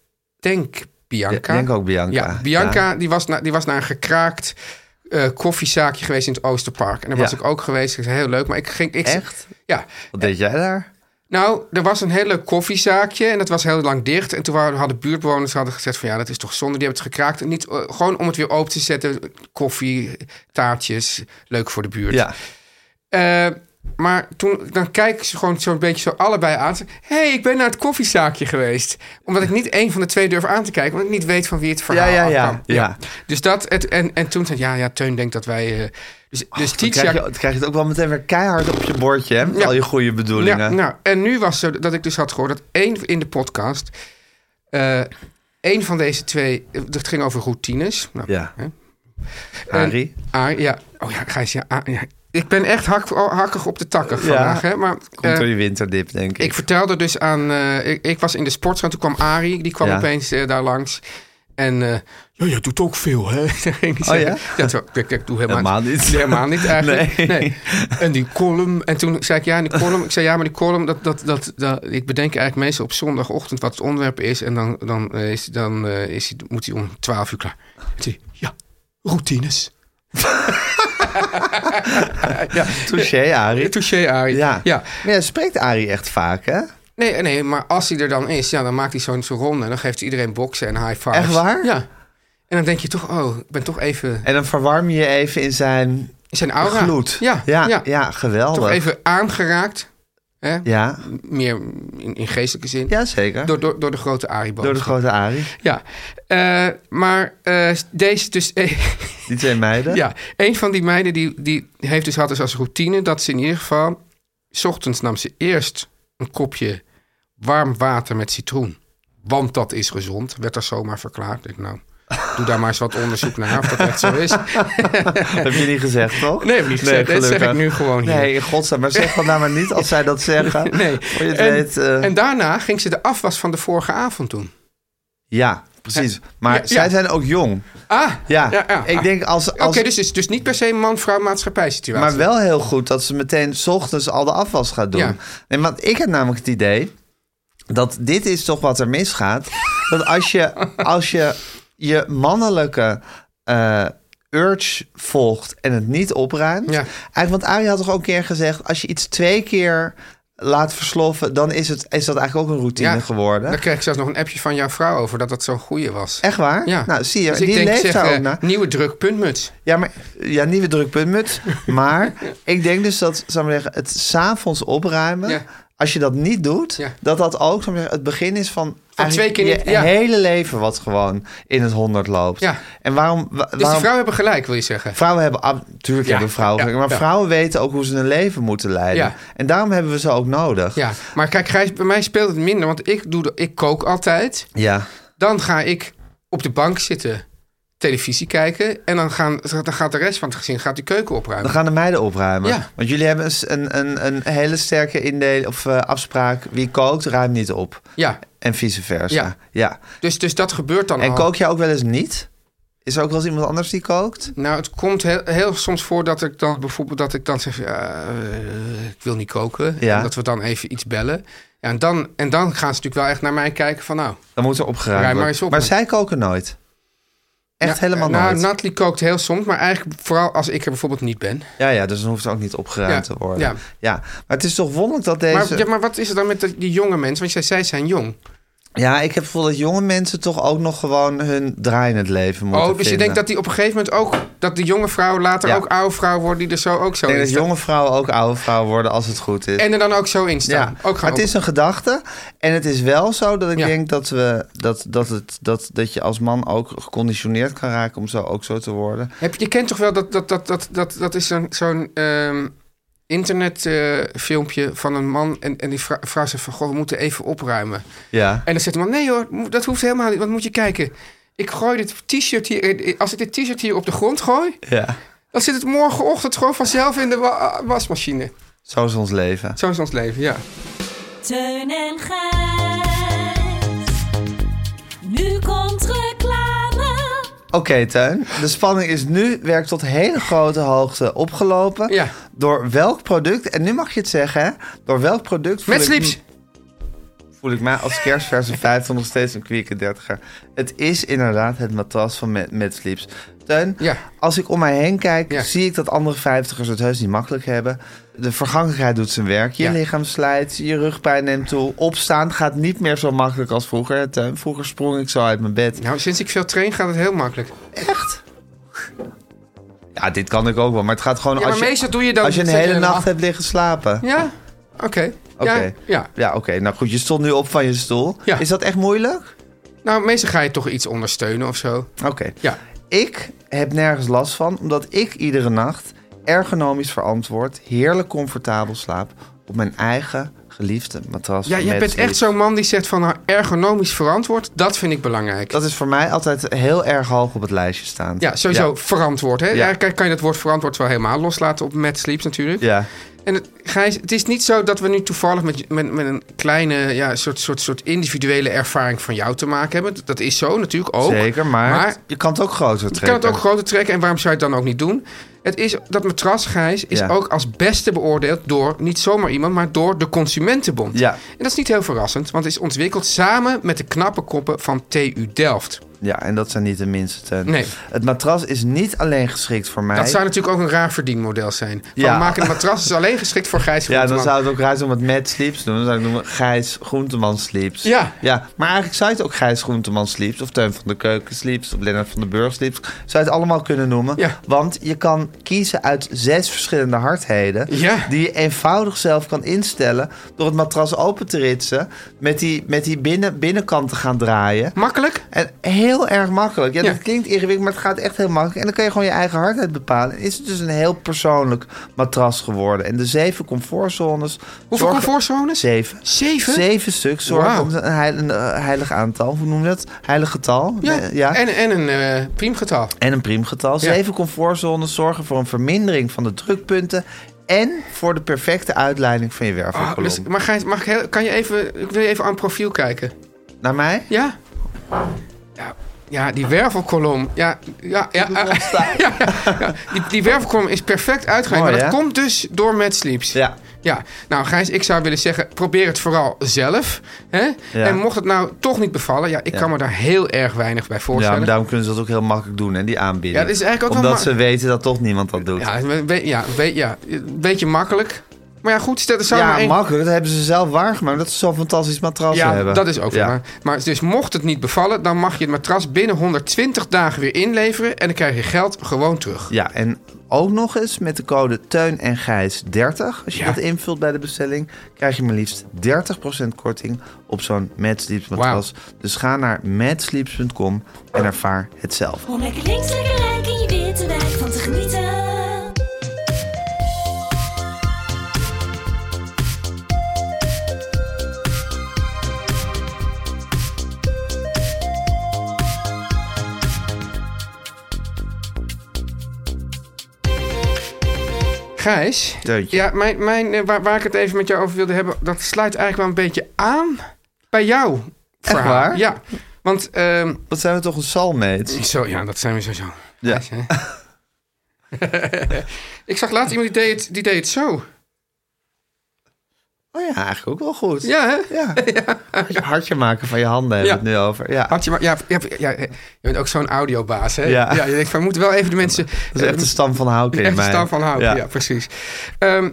denk Bianca. Ik denk ook Bianca. Ja, Bianca Die, was na, die was naar een gekraakt... eh, koffiezaakje geweest in het Oosterpark. En daar Ja. was ik ook geweest. Ik zei, heel leuk. Maar ik ging... Ik, Echt? Ja. Wat deed jij daar? Nou, er was een hele koffiezaakje en dat was heel lang dicht. En toen waren- hadden buurtbewoners hadden gezegd van ja, dat is toch zonde. Die hebben het gekraakt. En niet, eh, gewoon om het weer open te zetten. Koffie, taartjes, leuk voor de buurt. Ja. Eh, maar toen, dan kijken ze gewoon zo'n beetje zo allebei aan. Ze- hey, ik ben naar het koffiezaakje geweest. Omdat ik niet één van de twee durf aan te kijken. Omdat ik niet weet van wie het Ja, verhaal ja, ja. afkwam. ja. Dus dat, het, en, en toen zei ja, ja, Teun denkt dat wij... eh, dus dus Dan Tietja krijg, je, dan krijg je het ook wel meteen weer keihard op je bordje, hè? Met Ja. al je goede Ja, bedoelingen. nou, en nu was zo dat ik dus had gehoord dat één in de podcast. eh één van deze twee. Het ging over routines. Nou, Ja. hè. Harry. Ah, ja. Oh ja, Gijs. Ja, ah, ja. Ik ben echt hak, oh, hakkig op de takken vandaag. Hè? Maar, Komt eh, door je winterdip, denk ik. ik vertelde dus aan. eh, ik, ik was in de sportschool. Toen kwam Arie. Die kwam Ja. opeens eh, daar langs. En. eh ja, jij doet ook veel, hè? Ging hij Oh, ja? zeggen. Dat zo- ik, ik doe helemaal, Helemaal niet. Helemaal niet eigenlijk. Nee. Nee. En die column. En toen zei ik ja, en die column. Ik zei ja, maar die column. Dat, dat, dat, dat, ik bedenk eigenlijk meestal op zondagochtend wat het onderwerp is. En dan, dan, eh, is, dan eh, is, hij- moet hij om 12 uur klaar. En toen zei hij, ja, routines. Ja. Touché, Arie. Touché, Arie. Ja. ja. Maar ja, spreekt Arie echt vaak, hè? Nee, nee, maar als hij er dan is, ja, dan maakt hij zo'n zo'n ronde. En dan geeft hij iedereen boksen en high fives. Echt waar? Ja. En dan denk je toch, oh, ik ben toch even... En dan verwarm je je even in zijn Zijn aura. gloed. Ja, ja, ja. ja. geweldig. Toch even aangeraakt. Hè? Ja. Meer in, in geestelijke zin. ja, zeker. Door, Door, door, door de grote arie de grote Arie. Ja. Eh, maar eh, deze dus... Die twee meiden. ja, een van die meiden die, die heeft dus had dus als routine... dat ze in ieder geval... S ochtends nam ze eerst een kopje warm water met citroen. Want dat is gezond. Werd er zomaar verklaard. Ik, nou, doe daar maar eens wat onderzoek naar of dat echt zo is. Heb je niet gezegd, toch? Nee, heb ik niet gezegd. Dat zeg gelukkig. ik nu gewoon hier. Nee, in godsnaam. Maar zeg dat nou maar niet als zij dat zeggen. Nee. Voor je het en, weet... eh, en daarna ging ze de afwas van de vorige avond doen. Ja, precies. Maar Ja, ja. zij zijn ook jong. Ah, Ja, Ja, ja. ik denk als... oké, als dus het is dus niet per se man-vrouw maatschappij situatie. Maar wel heel goed dat ze meteen 's ochtends al de afwas gaat doen. Ja. Nee, want ik heb namelijk het idee dat dit is toch wat er misgaat. dat als je als je, je mannelijke eh, urge volgt en het niet opruimt. Ja. Eigenlijk, want Arie had toch ook een keer gezegd, als je iets twee keer laat versloffen, dan is, het, is dat eigenlijk ook een routine geworden. Daar kreeg ik zelfs nog een appje van jouw vrouw over dat dat zo'n goeie was. Echt waar? Nou, zie je, Dus ik die denk, leeft zeg, daar ook eh, naar. Nieuwe Dus druk, puntmuts. Ja, maar ja, nieuwe drukpuntmut. Maar ik denk dus dat, zou ik maar zeggen, het s'avonds opruimen, Ja. als je dat niet doet, Ja. dat dat ook zou ik maar zeggen, het begin is van, eigenlijk twee keer je niet- ja. hele leven wat gewoon in het honderd loopt. Ja. En waarom, wa- Dus waarom die vrouwen hebben gelijk, wil je zeggen. vrouwen hebben, ah, natuurlijk Ja, hebben vrouwen, ja, gelijk, maar ja. vrouwen weten ook hoe ze hun leven moeten leiden. Ja. En daarom hebben we ze ook nodig. Ja, maar kijk, Gijs, bij mij speelt het minder, want ik, doe de, ik kook altijd. Ja. Dan ga ik op de bank zitten, televisie kijken. En dan, gaan, dan gaat de rest van het gezin gaat die keuken opruimen. Dan gaan de meiden opruimen. Ja. Want jullie hebben een s- een, een, een hele sterke indeel of eh, afspraak. Wie kookt, ruimt niet op. Ja, En vice versa. Ja. ja. dus, dus dat gebeurt dan En al. kook jij ook wel eens niet? Is er ook wel eens iemand anders die kookt? Nou, het komt heel, heel soms voor dat ik dan bijvoorbeeld dat ik dan zeg, ja, eh, ik wil niet koken. Ja. En Dat we dan even iets bellen. Ja, en, dan, en dan gaan ze natuurlijk wel echt naar mij kijken van nou. Dan moet er opgeruimd Ruim maar worden. eens op, maar man. zij koken nooit. Echt Ja, helemaal nou, nooit. Natalie kookt heel soms, maar eigenlijk vooral als ik er bijvoorbeeld niet ben. Ja, ja, dus dan hoeft ze ook niet opgeruimd Ja, te worden. Ja. ja. maar het is toch wonderlijk dat deze... Maar, ja, maar wat is er dan met de- die jonge mensen? Want jij zei, zij zijn jong. Ja, ik heb het gevoel dat jonge mensen toch ook nog gewoon hun draai in het leven moeten oh, dus je vinden. denkt dat die op een gegeven moment ook... dat de jonge vrouwen later Ja. ook oude vrouwen worden... die er zo ook zo Ik denk in dat staan. jonge vrouwen ook oude vrouwen worden als het goed is. En er dan ook zo in staan. ja, Ook maar gaan het is een gedachte. En het is wel zo dat ik Ja. denk dat, we, dat, dat, het, dat, dat je als man ook geconditioneerd kan raken om zo ook zo te worden. Heb, je- je kent toch wel dat, dat, dat, dat, dat, dat is zo'n zo'n ehm, internetfilmpje van een man. En, en die vrou- vrouw zegt van, goh, we moeten even opruimen. Ja. En dan zegt de man, nee hoor, mo- dat hoeft helemaal niet. Want moet je kijken, ik gooi dit t-shirt hier... in- Als ik dit t-shirt hier op de grond gooi... ja. dan zit het morgenochtend gewoon vanzelf in de wa- wasmachine. Zo is ons leven. Zo is ons leven, ja. Teun en Gijs. Nu komt reclame. Oké, Tuin. De spanning is nu weer tot hele grote hoogte opgelopen. Ja. Door welk product, en nu mag je het zeggen, hè? Door welk product voel Met ik, Sleeps. voel ik mij als kerstverse 50 nog steeds een kwieke dertiger. Het is inderdaad het matras van Met, Met Sleeps. Teun, Ja. als ik om mij heen kijk, Ja. zie ik dat andere vijftigers het heus niet makkelijk hebben. De vergankelijkheid doet zijn werk. Je Ja. lichaam slijt, je rugpijn neemt toe. Opstaan gaat niet meer zo makkelijk als vroeger. hè, Teun, vroeger sprong ik zo uit mijn bed. Nou, sinds ik veel train gaat het heel makkelijk. Echt? Ja, dit kan ik ook wel. Maar het gaat gewoon Ja, als, maar je, meestal doe je dan... als je een zet hele hem nacht af. hebt liggen slapen. Ja, oké. Ja, Oké. ja. Ja, oké. Nou goed, je stond nu op van je stoel. Ja. Is dat echt moeilijk? Nou, meestal ga je toch iets ondersteunen of zo. Oké. Ja. Ik heb nergens last van, omdat ik iedere nacht ergonomisch verantwoord, heerlijk comfortabel slaap op mijn eigen geliefde matras. Ja, van jij bent Medslip. echt zo'n man die zegt van nou, ergonomisch verantwoord. Dat vind ik belangrijk. Dat is voor mij altijd heel erg hoog op het lijstje staan. Ja, sowieso verantwoord. Hè? Ja. Ja. Kijk, kan je dat woord verantwoord wel helemaal loslaten op Mad Sleeps natuurlijk. Ja. En het, Gijs, het is niet zo dat we nu toevallig met, met, met een kleine ja, soort, soort, soort individuele ervaring van jou te maken hebben. Dat is zo natuurlijk ook. Zeker, maar, Maar je kan het ook groter trekken. Je kan het ook groter trekken en waarom zou je het dan ook niet doen? Het is, dat matras, Gijs, is Ja. ook als beste beoordeeld door niet zomaar iemand, maar door de Consumentenbond. Ja. En dat is niet heel verrassend, want het is ontwikkeld samen met de knappe koppen van TU Delft. Ja, en dat zijn niet de minste. Teun. Nee. Het matras is niet alleen geschikt voor mij. Dat zou natuurlijk ook een raar verdienmodel zijn. Van Ja. maken een matras is alleen geschikt voor Gijs Ja, dan Groenteman. zou het ook raar zijn om het met Sleeps te doen. Dan zou ik noemen Gijs Groenteman Sleeps. Ja. ja. Maar eigenlijk zou je het ook Gijs Groenteman Sleeps... of Teun van de Keuken Sleeps of Lennart van den Burg Sleeps... zou je het allemaal kunnen noemen. Ja. Want je kan kiezen uit zes verschillende hardheden... Ja. die je eenvoudig zelf kan instellen... door het matras open te ritsen... met die, met die binnen, binnenkant te gaan draaien... Makkelijk? En heel erg makkelijk. Ja, Ja. dat klinkt ingewikkeld, maar het gaat echt heel makkelijk. En dan kan je gewoon je eigen hardheid bepalen. En is het dus een heel persoonlijk matras geworden. En de zeven comfortzones... Hoeveel zorgen- comfortzones? Zeven. Zeven? Zeven stuks zorgen Wauw. om een heilig, een eh, heilig aantal. Hoe noem je dat? Heilig getal. Ja. Nee, ja. En, en een eh priemgetal. En een priemgetal. Ja. Zeven comfortzones zorgen voor een vermindering van de drukpunten... en voor de perfecte uitleiding van je Ah, wervelkolom. dus- maar Gijs, mag ik heel- kan je even, ik wil je even aan het profiel kijken. Naar mij? Ja. Ja, ja die wervelkolom. Ja, ja, ja, ja, ja, ja. Die, die wervelkolom is perfect Mooi, uitgelegd. maar dat hè? komt dus door Mad Sleeps. Ja. Ja, nou Gijs, ik zou willen zeggen, probeer het vooral zelf. Hè? Ja. En mocht het nou toch niet bevallen, ja, ik kan me daar heel erg weinig bij Ja, voorstellen. maar daarom kunnen ze dat ook heel makkelijk doen, hè, die aanbieding. Ja, dat is eigenlijk ook wel Omdat ma- ze weten dat toch niemand dat doet. Ja, we- we- ja, we- ja, een beetje makkelijk. Maar ja, goed, stel er zou maar Ja, één... makkelijk. Dat hebben ze zelf waargemaakt. Dat ze zo'n fantastisch matras ja, hebben. dat is ook Ja. ja. waar. Maar dus mocht het niet bevallen, dan mag je het matras binnen 120 dagen weer inleveren. En dan krijg je geld gewoon terug. Ja, en ook nog eens met de code Teun en Gijs 30. Als je Ja. dat invult bij de bestelling, krijg je maar liefst 30% korting op zo'n Mad Sleeps matras. Dus ga naar madsleeps.com en ervaar het zelf. Om lekker links, lekker rijk in je witte wijk van te genieten. Gijs, Deuntje. ja, mijn, mijn, eh, waar, waar ik het even met jou over wilde hebben, dat sluit eigenlijk wel een beetje aan bij jou. Verhaal. waar? Ja, want ehm, Wat zijn we toch een salmates? zo, ja, dat zijn we sowieso. Ja. Gijs, hè? ik zag laatst iemand die deed, het, die deed het zo. Oh ja, eigenlijk ook wel goed. Ja, hè? Ja. Hartje- Hartje maken van je handen hebben we het nu over. Ja. Had je, maar, ja, ja, ja, je bent ook zo'n audiobaas, hè? Ja. je denkt van, we moeten wel even de mensen... Dat is echt de stam van hout in Echt mij. staan van houden, ja, Ja. precies. Ehm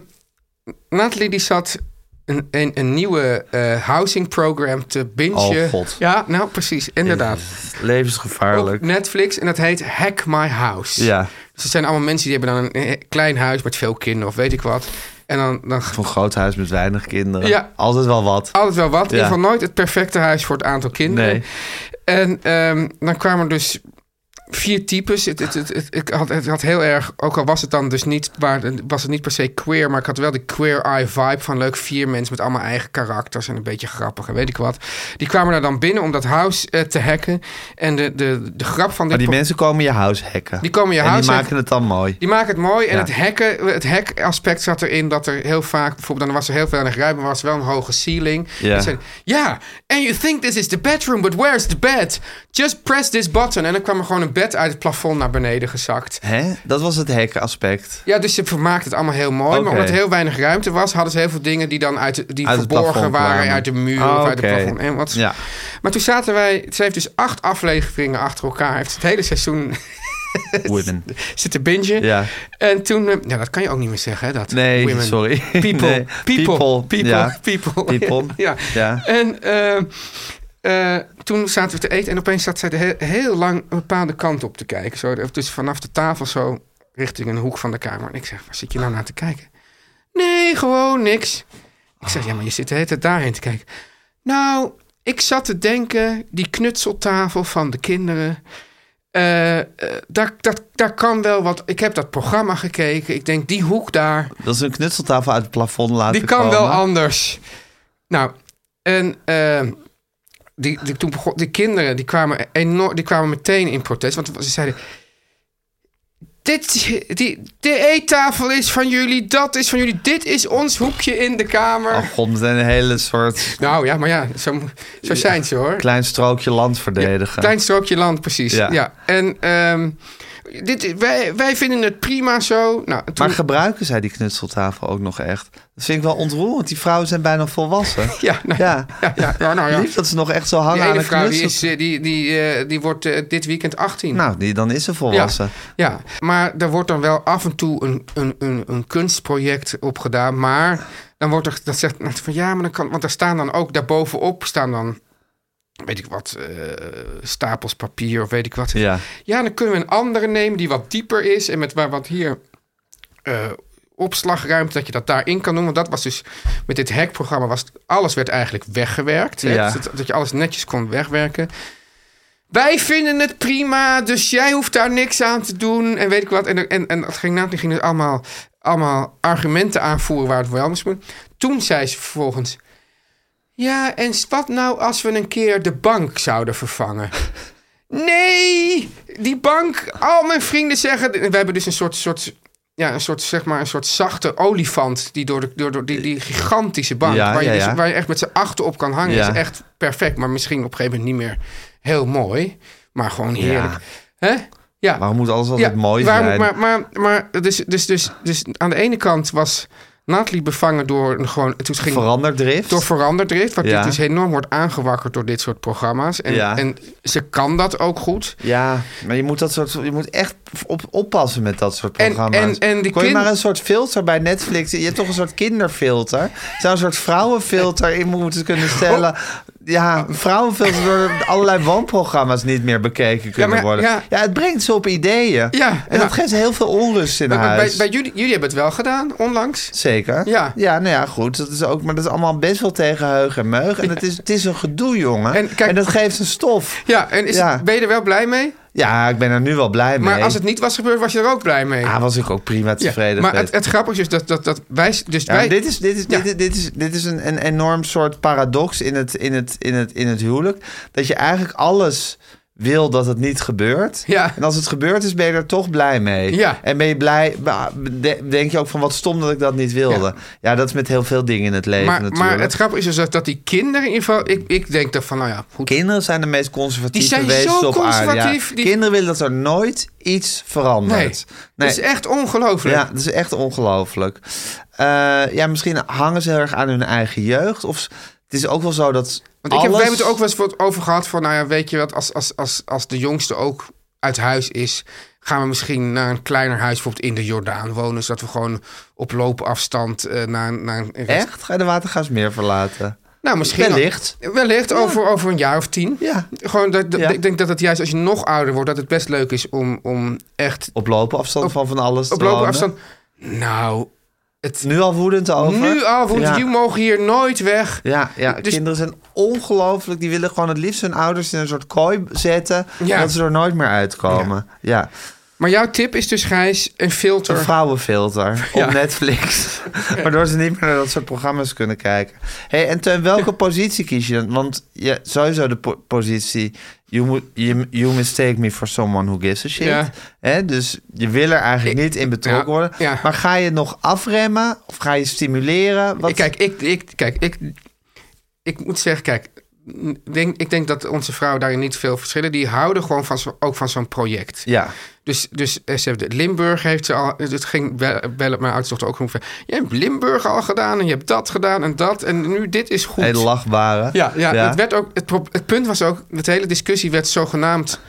Natalie die zat een, een, een nieuwe eh, housing program te bingen. Oh, god. Ja, nou precies, inderdaad. Levensgevaarlijk. Op Netflix en dat heet Hack My House. Ja, Dus het zijn allemaal mensen die hebben dan een eh, klein huis met veel kinderen of weet ik wat. En dan, dan van groot huis met weinig kinderen. Ja. Oh, Altijd wel wat. altijd wel wat. Ja. In ieder geval nooit het perfecte huis voor het aantal kinderen. Nee. En ehm, dan kwamen er dus vier types. Het, het, het, het- ik had, het had heel erg, ook al was het dan dus niet, waar, was het niet per se queer, maar ik had wel de queer eye vibe van leuk vier mensen met allemaal eigen karakters en een beetje grappig en weet ik wat. Die kwamen daar dan binnen om dat huis eh, te hacken. En de, de, de grap Maar van dit Oh, die pro- mensen komen je house hacken. Die komen je en house die hacken. maken het dan mooi. die maken het mooi. En Ja. het hacken, het hack aspect zat erin dat er heel vaak, bijvoorbeeld, dan was er heel weinig ruimte, maar was wel een hoge ceiling. Ja. En zeiden, ja, and you think this is the bedroom, but where's the bed? Just press this button. En dan kwam er gewoon een bed uit het plafond naar beneden gezakt. Hè? Dat was het hacken aspect. Ja, dus ze vermaakte het allemaal heel mooi. Maar Oké. omdat er heel weinig ruimte was, hadden ze heel veel dingen die dan uit, de- die Uit het verborgen plafond waren kwamen. uit de muur Ah, of uit het oké. plafond. En wat. Ja. Maar toen zaten wij, ze heeft dus acht afleveringen achter elkaar, heeft het hele seizoen Women. Zit te bingen. Ja. En toen... eh, Nou, dat kan je ook niet meer zeggen, hè? Dat, Nee, women. sorry. People. Nee, People. People. people, ja. people. People, ja. ja. En eh, eh, toen zaten we te eten en opeens zat zij de he- heel lang een bepaalde kant op te kijken. Zo, dus vanaf de tafel zo richting een hoek van de kamer. En ik zeg, waar zit je nou naar te kijken? Nee, gewoon niks. Ik zeg, ja, maar je zit de hele tijd daarheen te kijken. Nou, ik zat te denken, die knutseltafel van de kinderen... eh, eh, daar, dat, daar kan wel wat. Ik heb dat programma gekeken. Ik denk, die hoek daar. Dat is een knutseltafel uit het plafond laten Die kan komen. wel anders. Nou, en eh, die, die, toen begon, die kinderen die kwamen, enorm, die kwamen meteen in protest. Want ze zeiden... Dit, die, de eettafel is van jullie, dat is van jullie. Dit is ons hoekje in de kamer. Oh god, met een hele soort Nou ja, maar ja, zo, zo zijn ze hoor. klein strookje land verdedigen. Klein strookje land, precies. Ja. Ja. En ehm, dit, wij, wij vinden het prima zo. Nou, en toen, Maar gebruiken zij die knutseltafel ook nog echt? Dat vind ik wel ontroerend. Die vrouwen zijn bijna volwassen. ja, nou, ja. ja, ja, ja, nou ja. Lief dat ze nog echt zo hangen Die aan ene een vrouw die, is, knutsel. eh, die, die, eh, die wordt eh, dit weekend 18. Nou, die, dan is ze ja, volwassen. ja, maar er wordt dan wel af en toe een, een, een, een kunstproject op gedaan. Maar dan wordt er dat zegt van ja, maar dan kan. Want daar staan dan ook daarbovenop staan dan. Weet ik wat, eh, stapels papier of weet ik wat. Ja. Ja, dan kunnen we een andere nemen die wat dieper is en met waar wat hier eh, opslagruimte, dat je dat daarin kan doen. Want dat was dus met dit hackprogramma, was, alles werd eigenlijk weggewerkt. Hè? Ja. Dus dat, dat je alles netjes kon wegwerken. Wij vinden het prima, dus jij hoeft daar niks aan te doen en weet ik wat. En, er- en, en dat ging na, die ging dus allemaal, allemaal argumenten aanvoeren waar het wel anders moet. Toen zei ze vervolgens, ja, en wat nou als we een keer de bank zouden vervangen? Nee, die bank. Al mijn vrienden zeggen. We hebben dus een soort, soort, ja, een soort, zeg maar, een soort zachte olifant. Die door, de, door, door die, die gigantische bank. Ja, waar, je ja, dus- ja. waar je echt met z'n achter op kan hangen. Ja. Is echt perfect. Maar misschien op een gegeven moment niet meer heel mooi. Maar gewoon heerlijk. Hè? Ja. Waarom moet alles altijd mooi waarom- zijn? Maar, maar, maar dus, dus, dus, dus aan de ene kant was Natalie bevangen door een gewoon. Toen ging Veranderdrift? door veranderdrift, wat Ja. dit dus enorm wordt aangewakkerd door dit soort programma's. En, Ja. en ze kan dat ook goed. Ja, maar je moet, dat soort, je moet echt op, oppassen met dat soort En- programma's. en- en die Kon je kind- maar een soort filter bij Netflix... Je hebt toch een soort kinderfilter? Je zou een soort vrouwenfilter in moeten kunnen stellen. Ja, een vrouwenfilter door allerlei woonprogramma's niet meer bekeken kunnen maar- worden. ja. Ja. het brengt ze op ideeën. Ja, en ja. dat geeft heel veel onrust in Maar Bij, huis. bij jullie, jullie hebben het wel gedaan, onlangs. Zeker. Ja. ja, nou ja, goed. Dat is ook, maar dat is allemaal best wel tegen heug en meug. En het, is, het is een gedoe, jongen. En En, kijk- dat geeft een stof. Ja, en is Ja. het- ben je er wel blij mee? Ja, ik ben er nu wel blij mee. Maar als het niet was gebeurd, was je er ook blij mee. Ah, was ik ook prima Ja, tevreden. maar mee. het, het grappige is dat, dat, dat wij... Dus Ja, wij maar dit is, dit is, Ja. dit is, dit is, dit is een, een enorm soort paradox in het, in, het, in, het, in het huwelijk. Dat je eigenlijk alles wil dat het niet gebeurt. Ja. En als het gebeurd is, ben je er toch blij mee. Ja. En ben je blij, bah, de- denk je ook van wat stom dat ik dat niet wilde. Ja. Ja, dat is met heel veel dingen in het leven maar, natuurlijk. maar het grappige is dus dat, dat die kinderen in ieder geval... Ik, ik denk dan van, nou ja, goed. Kinderen zijn de meest conservatieve Die zijn wezens zo op aarde. Ja. conservatief, die- Kinderen willen dat er nooit iets verandert. Nee, dat is echt ongelooflijk. Ja, dat is echt ongelooflijk. Eh, ja, misschien hangen ze heel erg aan hun eigen jeugd. Of s- het is ook wel zo dat. Want ik heb, alles... we hebben het ook wel eens wat over gehad van, nou ja, weet je wat, als, als, als, als de jongste ook uit huis is, gaan we misschien naar een kleiner huis, bijvoorbeeld in de Jordaan wonen, zodat we gewoon op loopafstand eh, naar, een- naar een rest- Echt? Ga je de Watergaasmeer verlaten? Nou, misschien Wellicht. Wellicht over, over een jaar of tien. Ja. Gewoon dat, dat- Ja. Ik denk dat het juist als je nog ouder wordt, dat het best leuk is om, om echt Op lopen afstand van van alles. op te wonen. loopafstand. Nou, Nu al woedend over. nu al, want ja. jullie mogen hier nooit weg. Ja, ja Dus- kinderen zijn ongelooflijk. Die willen gewoon het liefst hun ouders in een soort kooi zetten. Ja. Dat ze er nooit meer uitkomen. Ja. Maar jouw tip is dus, Gijs, een filter. Een vrouwenfilter Ja. op Netflix. Waardoor ze niet meer naar dat soort programma's kunnen kijken. hey, en ten welke positie kies je dan? Want je, sowieso de po- positie... You, mo- you, you mistake me for someone who gives a shit. Ja. Hè, dus je wil er eigenlijk niet in betrokken ja, worden. ja. Maar ga je nog afremmen? Of ga je stimuleren? Wat, Kijk, ik, ik, kijk ik, ik moet zeggen, kijk, ik denk, ik denk dat onze vrouwen daarin niet veel verschillen. Die houden gewoon van zo, ook van zo'n project. Ja, Dus, dus eh, ze hebben de- Limburg heeft ze al. Het ging wel, wel op mijn oudste dochter ook gewoon. van, Je hebt Limburg al gedaan en je hebt dat gedaan en dat. En nu dit is goed. hele lachbare. Ja, ja, Het, werd ook, het, pro- het punt was ook, dat hele discussie werd zogenaamd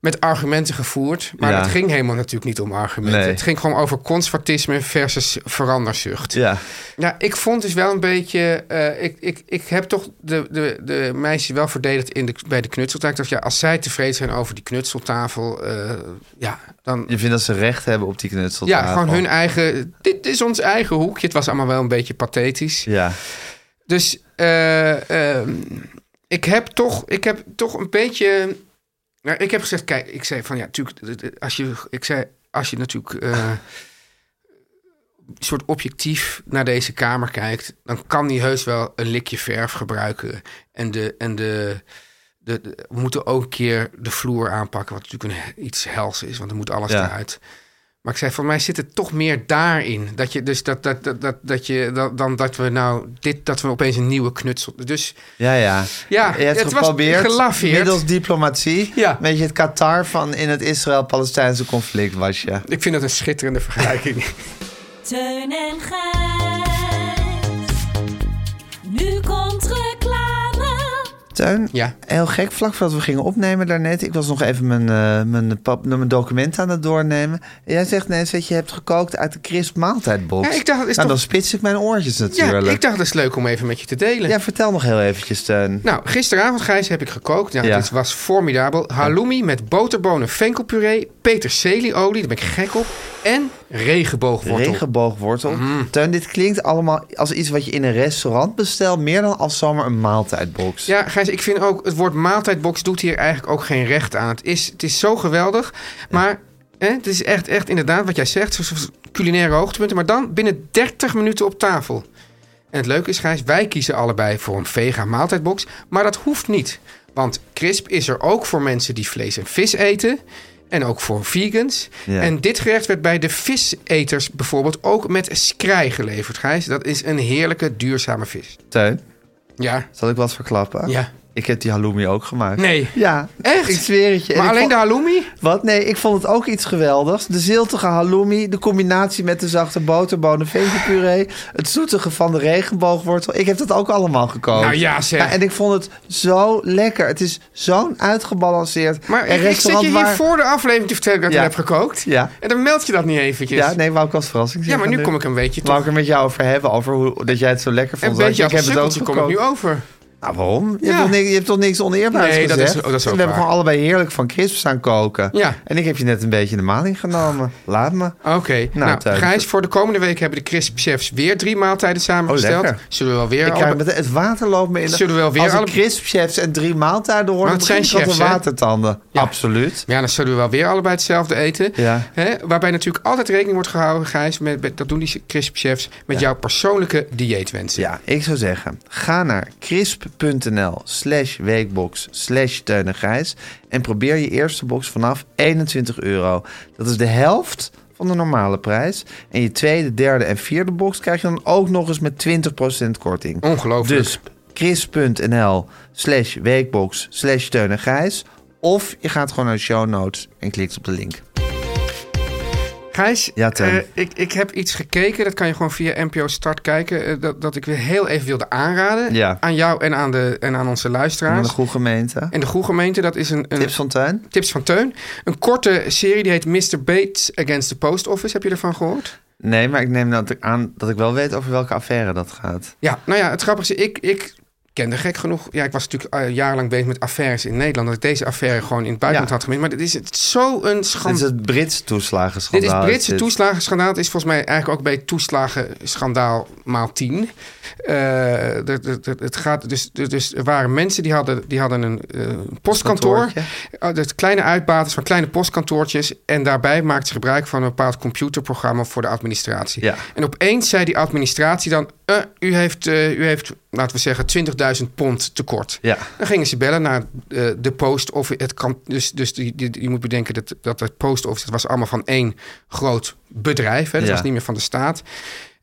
met argumenten gevoerd. Maar Ja. het ging helemaal natuurlijk niet om argumenten. Nee. Het ging gewoon over conservatisme versus veranderzucht. Ja. Ja, ik vond dus wel een beetje. eh, ik, ik, ik heb toch de, de, de meisjes wel verdedigd in de, bij de knutseltafel. Ik dacht, ja, als zij tevreden zijn over die knutseltafel, eh, ja, dan. Je vindt dat ze recht hebben op die knutseltafel. Ja, gewoon hun eigen. Dit is ons eigen hoekje. Het was allemaal wel een beetje pathetisch. Ja. Dus eh, ehm, ik, heb toch, ik heb toch een beetje. Nou, ik heb gezegd, kijk, ik zei van ja, natuurlijk, d- d- als je, ik zei, als je natuurlijk eh, een soort objectief naar deze kamer kijkt, dan kan die heus wel een likje verf gebruiken. En de, en de, de, de- we moeten ook een keer de vloer aanpakken, wat natuurlijk een, he- iets hels is, want er moet alles Ja. eruit. Maar ik zei, voor mij zit het toch meer daarin. Dat je dus dat, dat, dat, dat, dat je dat, dan dat we nou dit, dat we opeens een nieuwe knutsel. Dus Ja, ja. Ja, je hebt het was geprobeerd, gelafeerd. middels diplomatie, Ja. een beetje het Qatar van in het Israël-Palestijnse conflict was je. ik vind dat een schitterende vergelijking. Teun en Gijs. Nu komt reclame. Teun, Ja. heel gek, vlak voordat we gingen opnemen daarnet, ik was nog even mijn, eh, mijn, pap, mijn document aan het doornemen. En jij zegt ineens dat je hebt gekookt uit de crisp maaltijdbox. Ja, ik dacht, dat is nou, toch- dan spits ik mijn oortjes ja, natuurlijk. ik dacht dat is leuk om even met je te delen. Ja, vertel nog heel eventjes, Teun. Nou, gisteravond, Gijs, heb ik gekookt. Nou, Ja. dit was formidabel. Halloumi met boterbonen, venkelpuree, peterselieolie, daar ben ik gek op. En regenboogwortel. Regenboogwortel. Mhm. Teun, dit klinkt allemaal als iets wat je in een restaurant bestelt, meer dan als zomaar een maaltijdbox. Ja, Gijs, ik vind ook het woord maaltijdbox doet hier eigenlijk ook geen recht aan. Het is, het is zo geweldig, maar hè, het is echt, echt inderdaad wat jij zegt, zo'n soort culinaire hoogtepunten, maar dan binnen 30 minuten op tafel. En het leuke is, Gijs, wij kiezen allebei voor een vega maaltijdbox, maar dat hoeft niet. Want crisp is er ook voor mensen die vlees en vis eten. En ook voor vegans. Ja. En dit gerecht werd bij de viseters bijvoorbeeld ook met skrei geleverd, Gijs. Dat is een heerlijke, duurzame vis. Teun, Ja, zal ik wat verklappen? ja. Ik heb die halloumi ook gemaakt. Nee. Ja, Echt? Ik zweer het je. En Maar ik alleen de vond- halloumi? Wat? Nee, ik vond het ook iets geweldigs. De ziltige halloumi, de combinatie met de zachte boterbonen, venkelpuree, het zoetige van de regenboogwortel. Ik heb dat ook allemaal gekookt. Nou ja, zeg. en ik vond het zo lekker. Het is zo'n uitgebalanceerd Maar en ik, ik zit restaurant je hier waar... voor de aflevering te vertellen dat ik Ja. het heb gekookt. Ja. En dan meld je dat niet eventjes. Ja, nee, wou ik als verrassing Ja, maar nu zeggen kom ik een beetje Wou toch... ik er met jou over hebben, over hoe, dat jij het zo lekker vond. Een Want beetje ik als heb een het ook sukkeltje kom ik gekookt. nu over. Nou, waarom? Je, Ja. hebt toch niks, je hebt toch niks oneerbaars Nee, dat gezegd? is- oh, dat is ook We hebben waar. gewoon allebei heerlijk van crisps aan koken. Ja. En ik heb je net een beetje in de maling genomen. Laat me. Oké, nou, Tuin. Gijs, voor de komende week hebben de Crisp Chefs weer drie maaltijden samengesteld. Oh, lekker. Zullen we wel weer... Ik alle- krijg meteen- het water loopt me in de... Zullen we wel weer Als ik alle- crispchefs en drie maaltijden hoor, Maar dan het zijn begin ik altijd chefs, hè? watertanden. Ja. Absoluut. Ja, dan zullen we wel weer allebei hetzelfde eten. Ja. Hè? Waarbij natuurlijk altijd rekening wordt gehouden, Gijs, met, met- dat doen die Crisp Chefs, met jouw persoonlijke dieetwensen. Ja, ik zou zeggen, ga naar crisp.nl slash weekbox slash Teun en Gijs en probeer je eerste box vanaf 21 euro. Dat is de helft van de normale prijs. En je tweede, derde en vierde box krijg je dan ook nog eens met 20% korting. Ongelooflijk. Dus crisp.nl slash weekbox slash Teun en Gijs. Of je gaat gewoon naar de show notes en klikt op de link. Gijs, Ja, Teun. eh, ik, ik heb iets gekeken. Dat kan je gewoon via NPO Start kijken. eh, dat, dat ik weer heel even wilde aanraden. Ja. Aan jou en aan, de, en aan onze Van de luisteraars. goede gemeente. En de Groegemeente, dat is een... een Tips van Tuin? Tips van Teun. Een korte serie die heet Mr. Bates Against the Post Office. Heb je ervan gehoord? Nee, maar ik neem nou dat ik aan dat ik wel weet over welke affaire dat gaat. Ja, nou ja, het grappige is, ik, ik kende gek genoeg... Ja, ik was natuurlijk eh, jarenlang bezig met affaires in Nederland. Dat ik deze affaire gewoon in het buitenland Ja. had gemist. Maar dit is het is zo'n Dit is schandaal. het Britse toeslagenschandaal. Dit is Britse dit. toeslagenschandaal. Het is volgens mij eigenlijk ook bij het toeslagenschandaal maal 10. Eh, d- d- d- het gaat dus, d- dus er waren mensen die hadden, die hadden een eh, postkantoor. Kantoortje. Oh, dat kleine uitbaters van kleine postkantoortjes. En daarbij maakt ze gebruik van een bepaald computerprogramma voor de administratie. Ja. En opeens zei die administratie dan... eh, u, heeft, eh, u heeft, laten we zeggen, 20.000 pond tekort. Ja. Dan gingen ze bellen naar eh, de post of het kan. Dus, dus die, die- je moet bedenken dat, dat het post office, dat was allemaal van één groot bedrijf. Hè? Dat Ja. was niet meer van de staat.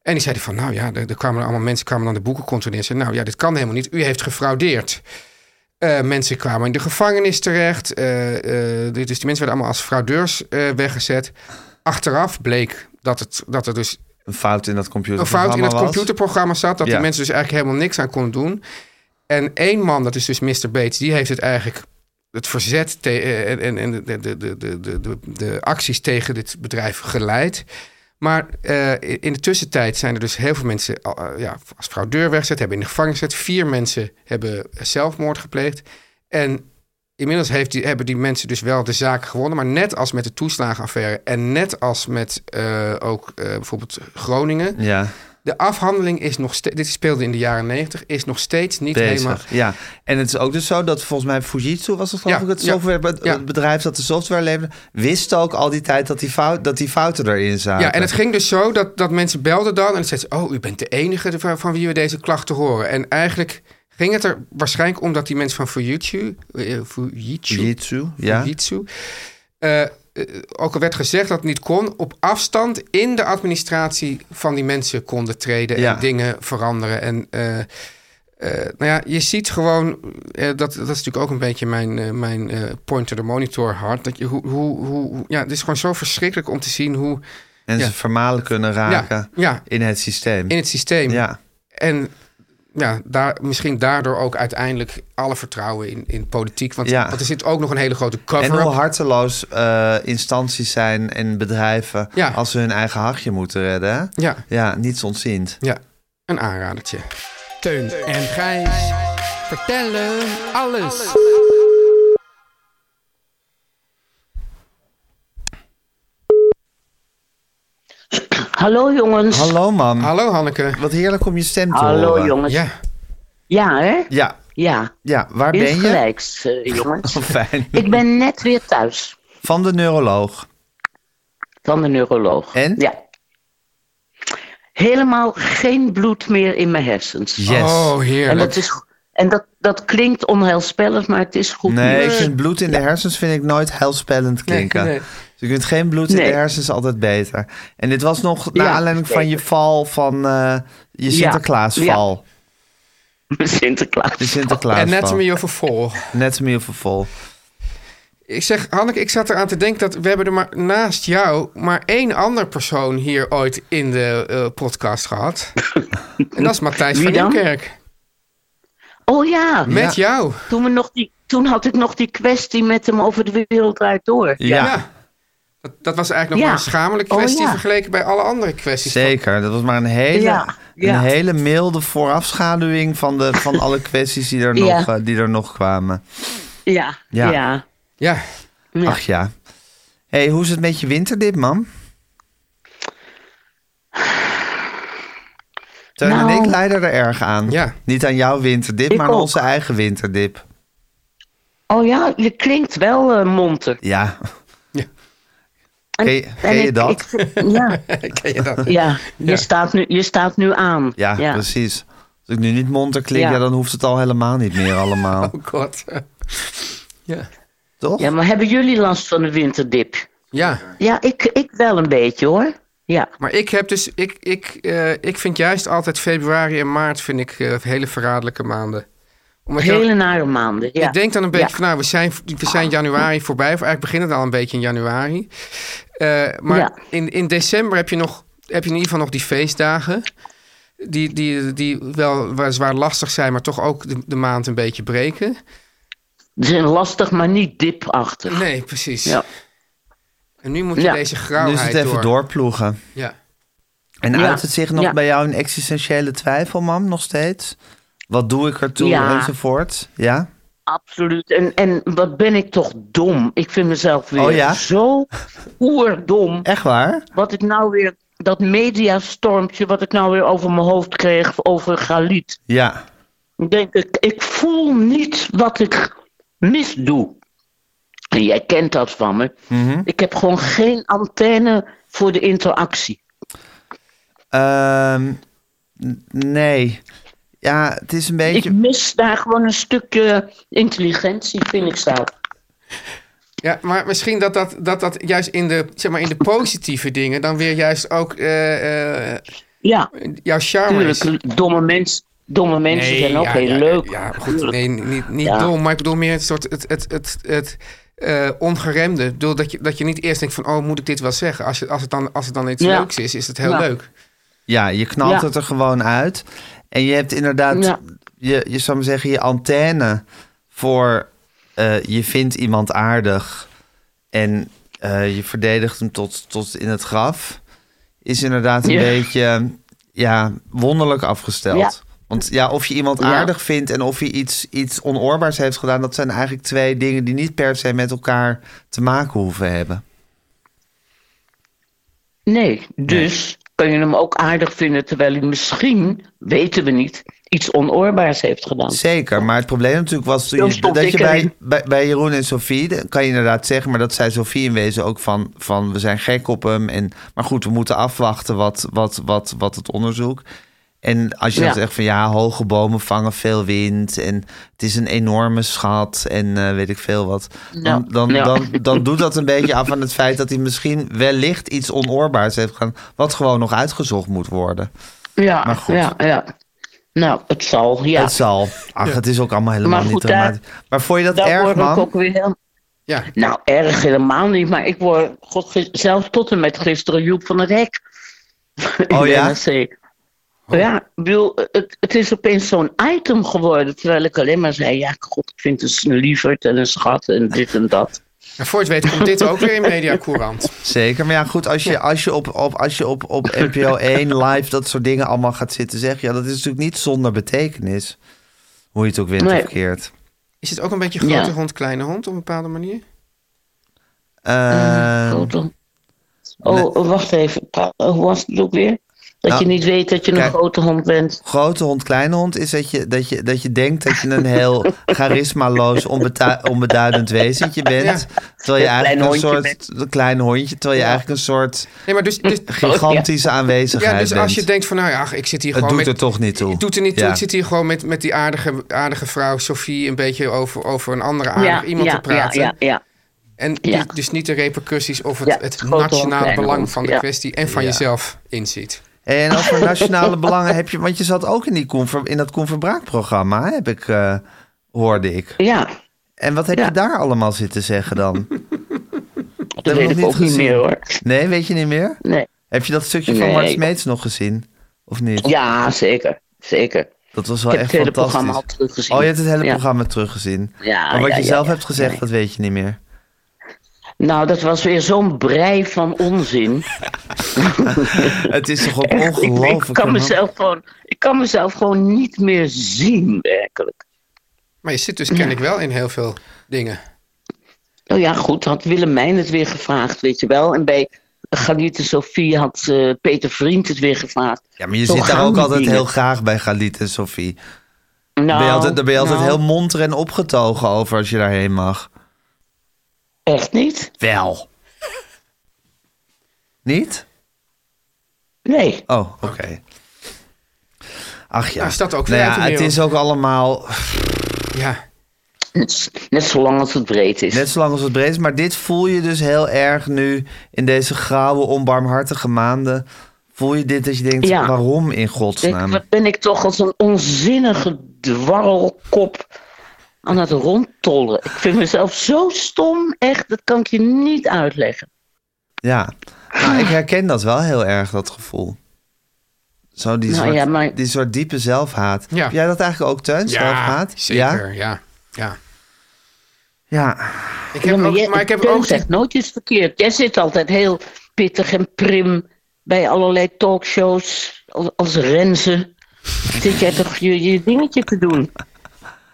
En die zeiden van, nou ja, er, er kwamen allemaal mensen kwamen dan de boeken controleren. en zeiden, nou ja, dit kan helemaal niet. U heeft gefraudeerd. Eh, mensen kwamen in de gevangenis terecht. Eh, eh, dus die mensen werden allemaal als fraudeurs eh, weggezet. Achteraf bleek dat, het, dat er dus Een fout in dat een computerprogramma fout in het was. computerprogramma zat. Dat Ja. die mensen dus eigenlijk helemaal niks aan konden doen. En één man, dat is dus Mr. Bates, die heeft het eigenlijk het verzet te- eh, en, en, en de, de, de, de, de, de, de acties tegen dit bedrijf geleid. Maar eh, in de tussentijd zijn er dus heel veel mensen al, eh, ja, als fraudeur weggezet, hebben in de gevangenis gezet. Vier mensen hebben zelfmoord gepleegd. En inmiddels heeft die, hebben die mensen dus wel de zaak gewonnen. Maar net als met de toeslagenaffaire en net als met eh, ook eh, bijvoorbeeld Groningen. Ja, De afhandeling is nog steeds, dit speelde in de jaren negentig, is nog steeds niet helemaal bezig. Ja. En het is ook dus zo dat volgens mij Fujitsu was het geloof Ja, ik het ja, softwarebed- ja. het bedrijf dat de software leverde, wist ook al die tijd dat die, fout, dat die fouten erin zaten. Ja, en het ging dus zo dat, dat mensen belden dan en dan zeiden ze... oh, u bent de enige van, van wie we deze klachten horen. En eigenlijk ging het er waarschijnlijk om dat die mensen van Fujitsu... eh, Fujitsu, Fujitsu, ja. Fujitsu eh, eh, ook al werd gezegd dat het niet kon... op afstand in de administratie van die mensen konden treden... Ja. en dingen veranderen. En eh, eh, nou ja, je ziet gewoon... eh, dat, dat is natuurlijk ook een beetje mijn, eh, mijn eh, point to the monitor hard. Dat je, hoe, hoe, hoe, ja, het is gewoon zo verschrikkelijk om te zien hoe... En Ja. ze vermalen kunnen raken Ja, ja, in het systeem. in het systeem. ja. En ja, daar, misschien daardoor ook uiteindelijk alle vertrouwen in, in politiek. Want, Ja. want er zit ook nog een hele grote En hoe cover-up. harteloos eh, instanties zijn en bedrijven Ja. als ze hun eigen hachje moeten redden. hè? Ja, Ja, niets ontziend. ja, een aanradertje. Teun en Gijs vertellen alles. Hallo jongens. Hallo mam, Hallo Hanneke. wat heerlijk om je stem te Hallo, horen. jongens. Ja, Ja, hè? Ja, Ja. ja, waar ben je? Insgelijks, eh, jongens. Oh, fijn. Ik ben net weer thuis Van de neuroloog. van de neuroloog. En? Ja. Helemaal geen bloed meer in mijn hersens. Yes. oh en heerlijk. dat, is, en dat, dat klinkt onheilspellend, maar het is goed Nee, ik nieuws. vind bloed in de hersens vind ik nooit heilspellend klinken. nee. Dus je kunt geen bloed in Nee. de hersens altijd beter. En dit was nog naar Ja, aanleiding van je val van eh, je Ja, Sinterklaasval. Sinterklaas. De Sinterklaasval. Anatomy of a Fall. Anatomy of a Fall. Ik zeg, Hanneke, ik zat eraan te denken dat we hebben er maar naast jou maar één ander persoon hier ooit in de eh, podcast gehad. en dat is Matthijs Wie van dan? Nieuwkerk. Oh ja, Met jou. toen, we nog die, toen had ik nog die kwestie met hem over de wereld draait door. Ja, Ja. Dat, dat was eigenlijk nog Ja. maar een schamelijke Oh, kwestie ja. vergeleken bij alle andere kwesties. zeker. Dat was maar een hele, Ja, ja. Een hele milde voorafschaduwing van, de, van alle kwesties die er, Ja. nog, eh, die er nog kwamen. Ja, Ja. ja. ja. Ja. Ach ja. hey, hoe is het met je winterdip, man? Teun en Nou. ik leiden er erg aan. Ja. Niet aan jouw winterdip, Ik maar aan ook. onze eigen winterdip. Oh ja, je klinkt wel eh, monter. Ja. Ja. Ken je, ken je ik- dat? ik- ja, Ken je dat? ja, je, Staat nu, je staat nu aan. ja, dus- precies. Als ik nu niet monter klink, ja. Ja. dan hoeft het al helemaal niet meer allemaal. Oh god. Ja. Toch? Ja, maar hebben jullie last van de winterdip? ja, Ja, ik, ik wel een beetje hoor. Ja. maar ik heb dus, ik, ik, eh, ik vind juist altijd februari en maart vind ik eh, hele verraderlijke maanden. Omdat je- Hele nare maanden. Ja. Ik denk dan een beetje Ja. van, nou, we zijn, we zijn januari voorbij. Of eigenlijk begint het al een beetje in januari. Eh, maar Ja. in, in december heb je, nog, heb je in ieder geval nog die feestdagen. Die, die, die wel weliswaar lastig zijn, maar toch ook de, de maand een beetje breken. Ze zijn lastig, maar niet dipachtig. Nee, precies. Ja. En nu moet je Ja. deze nu grauwheid is het even door. doorploegen. Ja. En Ja. uit het zich nog Ja. bij jou een existentiële twijfel, mam, nog steeds? Wat doe ik ertoe, Ja. enzovoort? Ja? Absoluut. En, en wat ben ik toch dom? Ik vind mezelf weer Oh ja? zo oerdom. Echt waar? Wat ik nou weer, dat mediastormpje, wat ik nou weer over mijn hoofd kreeg over Galit. Ja. Ik denk, ik, ik voel niet wat ik misdoe. En jij kent dat van me. Ik heb gewoon geen antenne voor de interactie. Ehm, n- nee. Ja, het is een beetje... Ik mis daar gewoon een stukje intelligentie, vind ik zelf. Ja, maar misschien dat dat, dat, dat juist in de, zeg maar in de positieve dingen dan weer juist ook eh, eh, Ja, jouw charme is. natuurlijk. Domme, mens, domme mensen zijn ook ja, heel ja, leuk. Ja, maar goed, nee, niet, niet Ja. dom, maar ik bedoel meer het soort het, het, het, het eh, ongeremde. Ik bedoel, dat je, dat je niet eerst denkt van, oh, moet ik dit wel zeggen? Als, je, als, het, dan, als het dan iets Ja. leuks is, is het heel Ja. leuk. Ja, je knalt Ja. het er gewoon uit. En je hebt inderdaad, Ja. je, je zou maar zeggen, je antenne voor eh, eh, je vindt iemand aardig en eh, je verdedigt hem tot, tot in het graf, is inderdaad een Ja. beetje ja, wonderlijk afgesteld. Ja. Want ja, of je iemand Ja. aardig vindt en of je iets, iets onoorbaars heeft gedaan, dat zijn eigenlijk twee dingen die niet per se met elkaar te maken hoeven hebben. Nee, dus kun je hem ook aardig vinden terwijl hij misschien, weten we niet, iets onoorbaars heeft gedaan. Zeker, maar het probleem natuurlijk was Zo stond dat ik je bij, erin. bij, bij Jeroen en Sofie, de- kan je inderdaad zeggen, maar dat zei Sofie in wezen ook van, van we zijn gek op hem. En, maar goed, we moeten afwachten wat, wat, wat, wat het onderzoek. En als je Ja. dan zegt van ja, hoge bomen vangen veel wind en het is een enorme schat en eh, weet ik veel wat. Dan, Ja. dan, Ja. dan, dan doet dat een beetje af aan het feit dat hij misschien wellicht iets onoorbaars heeft gedaan, wat gewoon nog uitgezocht moet worden. Ja, Maar goed. ja, ja. Nou, het zal, ja. Het zal. Ach, het is ook allemaal helemaal Maar goed, niet dramatisch. Maar vond je dat Daar erg, word man? ik ook weer heel- Ja. Nou, erg helemaal niet, maar ik word god, gis- zelfs tot en met gisteren Joep van het Hek. In Oh de ja? Oh. NRC. Ja, ik bedoel, het, het is opeens zo'n item geworden. Terwijl ik alleen maar zei: ja, god, ik vind het een lieverd en een schat en dit en dat. En voor het weten komt dit ook weer in Media Courant. Zeker. Maar ja, goed, als je, als je, op, op, als je op, op NPO 1 live dat soort dingen allemaal gaat zitten zeggen... ja, dat is natuurlijk niet zonder betekenis. Hoe je het ook wint Nee. of keert. Is het ook een beetje grote Ja. hond, kleine hond op een bepaalde manier? Mm. Eh, Goed dan. oh, wacht even. Pa- Hoe was het ook weer? Dat Nou, je niet weet dat je een kijk- grote hond bent. grote hond, kleine hond is dat je, dat, je, dat je denkt dat je een heel charismaloos, onbeta- onbeduidend wezentje bent. Terwijl je Een eigenlijk klein een hondje Oh, soort... Een klein hondje. Terwijl je eigenlijk een soort Nee, maar dus, dus, gigantische aanwezigheid ja, dus bent. als je denkt van, nou ja, ach, ik zit hier het gewoon doet met... er toch niet toe. Het doet er niet toe. Ja. Ik zit hier gewoon met, met die aardige, aardige vrouw Sophie een beetje over, over een andere aardige ja, iemand ja, te praten. Ja, ja, ja. En Ja. niet- dus niet de repercussies of het, Ja, het grote hond, nationale kleine belang hond, van de ja. kwestie en van jezelf inziet. En over nationale belangen heb je... Want je zat ook in, die Koen Ver- in dat Koen Verbraak-programma, hè, heb ik, eh, hoorde ik. ja. En wat heb Ja. je daar allemaal zitten zeggen dan? Dat, hebben we weet nog ik niet ook niet gezien. meer hoor. Nee, weet je niet meer? Nee. Heb je dat stukje van Nee. Mart Smeets nog gezien? Of niet? Ja, zeker. Zeker. Dat was wel Ik heb echt het hele fantastisch. programma al teruggezien. Oh, je hebt het hele Ja. programma teruggezien. Ja, maar wat ja, je ja, zelf ja. hebt gezegd, Nee. dat weet je niet meer. Nou, dat was weer zo'n brei van onzin. Het is toch ook Echt, ik, ongelooflijk. ik, kan man? mezelf gewoon, ik kan mezelf gewoon niet meer zien, werkelijk. Maar je zit dus kennelijk wel in heel veel dingen. Nou ja, goed, had Willemijn het weer gevraagd, weet je wel. En bij Galite Sofie had eh, Peter Vriend het weer gevraagd. Ja, maar je Zo zit daar gaan ook die altijd dingen. heel graag bij Galit en Sophie. Nou, Daar ben je altijd, daar ben je altijd nou. heel monter en opgetogen over als je daarheen mag. echt niet? Wel. Niet? Nee. Oh, oké. Ach ja. Nou, is dat ook nou weer uit ja, de het wereld? is ook allemaal Ja. Net, net zolang als het breed is. net zo lang als het breed is. Maar dit voel je dus heel erg nu in deze grauwe, onbarmhartige maanden. Voel je dit dat je denkt, Ja. waarom in godsnaam? Denk, wat ben ik toch als een onzinnige dwarrelkop aan het rondtollen. Ik vind mezelf zo stom, echt, dat kan ik je niet uitleggen. Ja, nou, ik herken dat wel heel erg, dat gevoel. Zo die, Nou soort, ja, maar- die soort diepe zelfhaat. Ja. Heb jij dat eigenlijk ook, Teun? zelfhaat? Ja? zeker. Ja, ja. ja. Ik Ja, heb maar, ook, jij- maar ik heb Teun ook... die- zegt nooit iets verkeerd. Jij zit altijd heel pittig en prim bij allerlei talkshows als, als renzen. zit jij toch je, je dingetje te doen?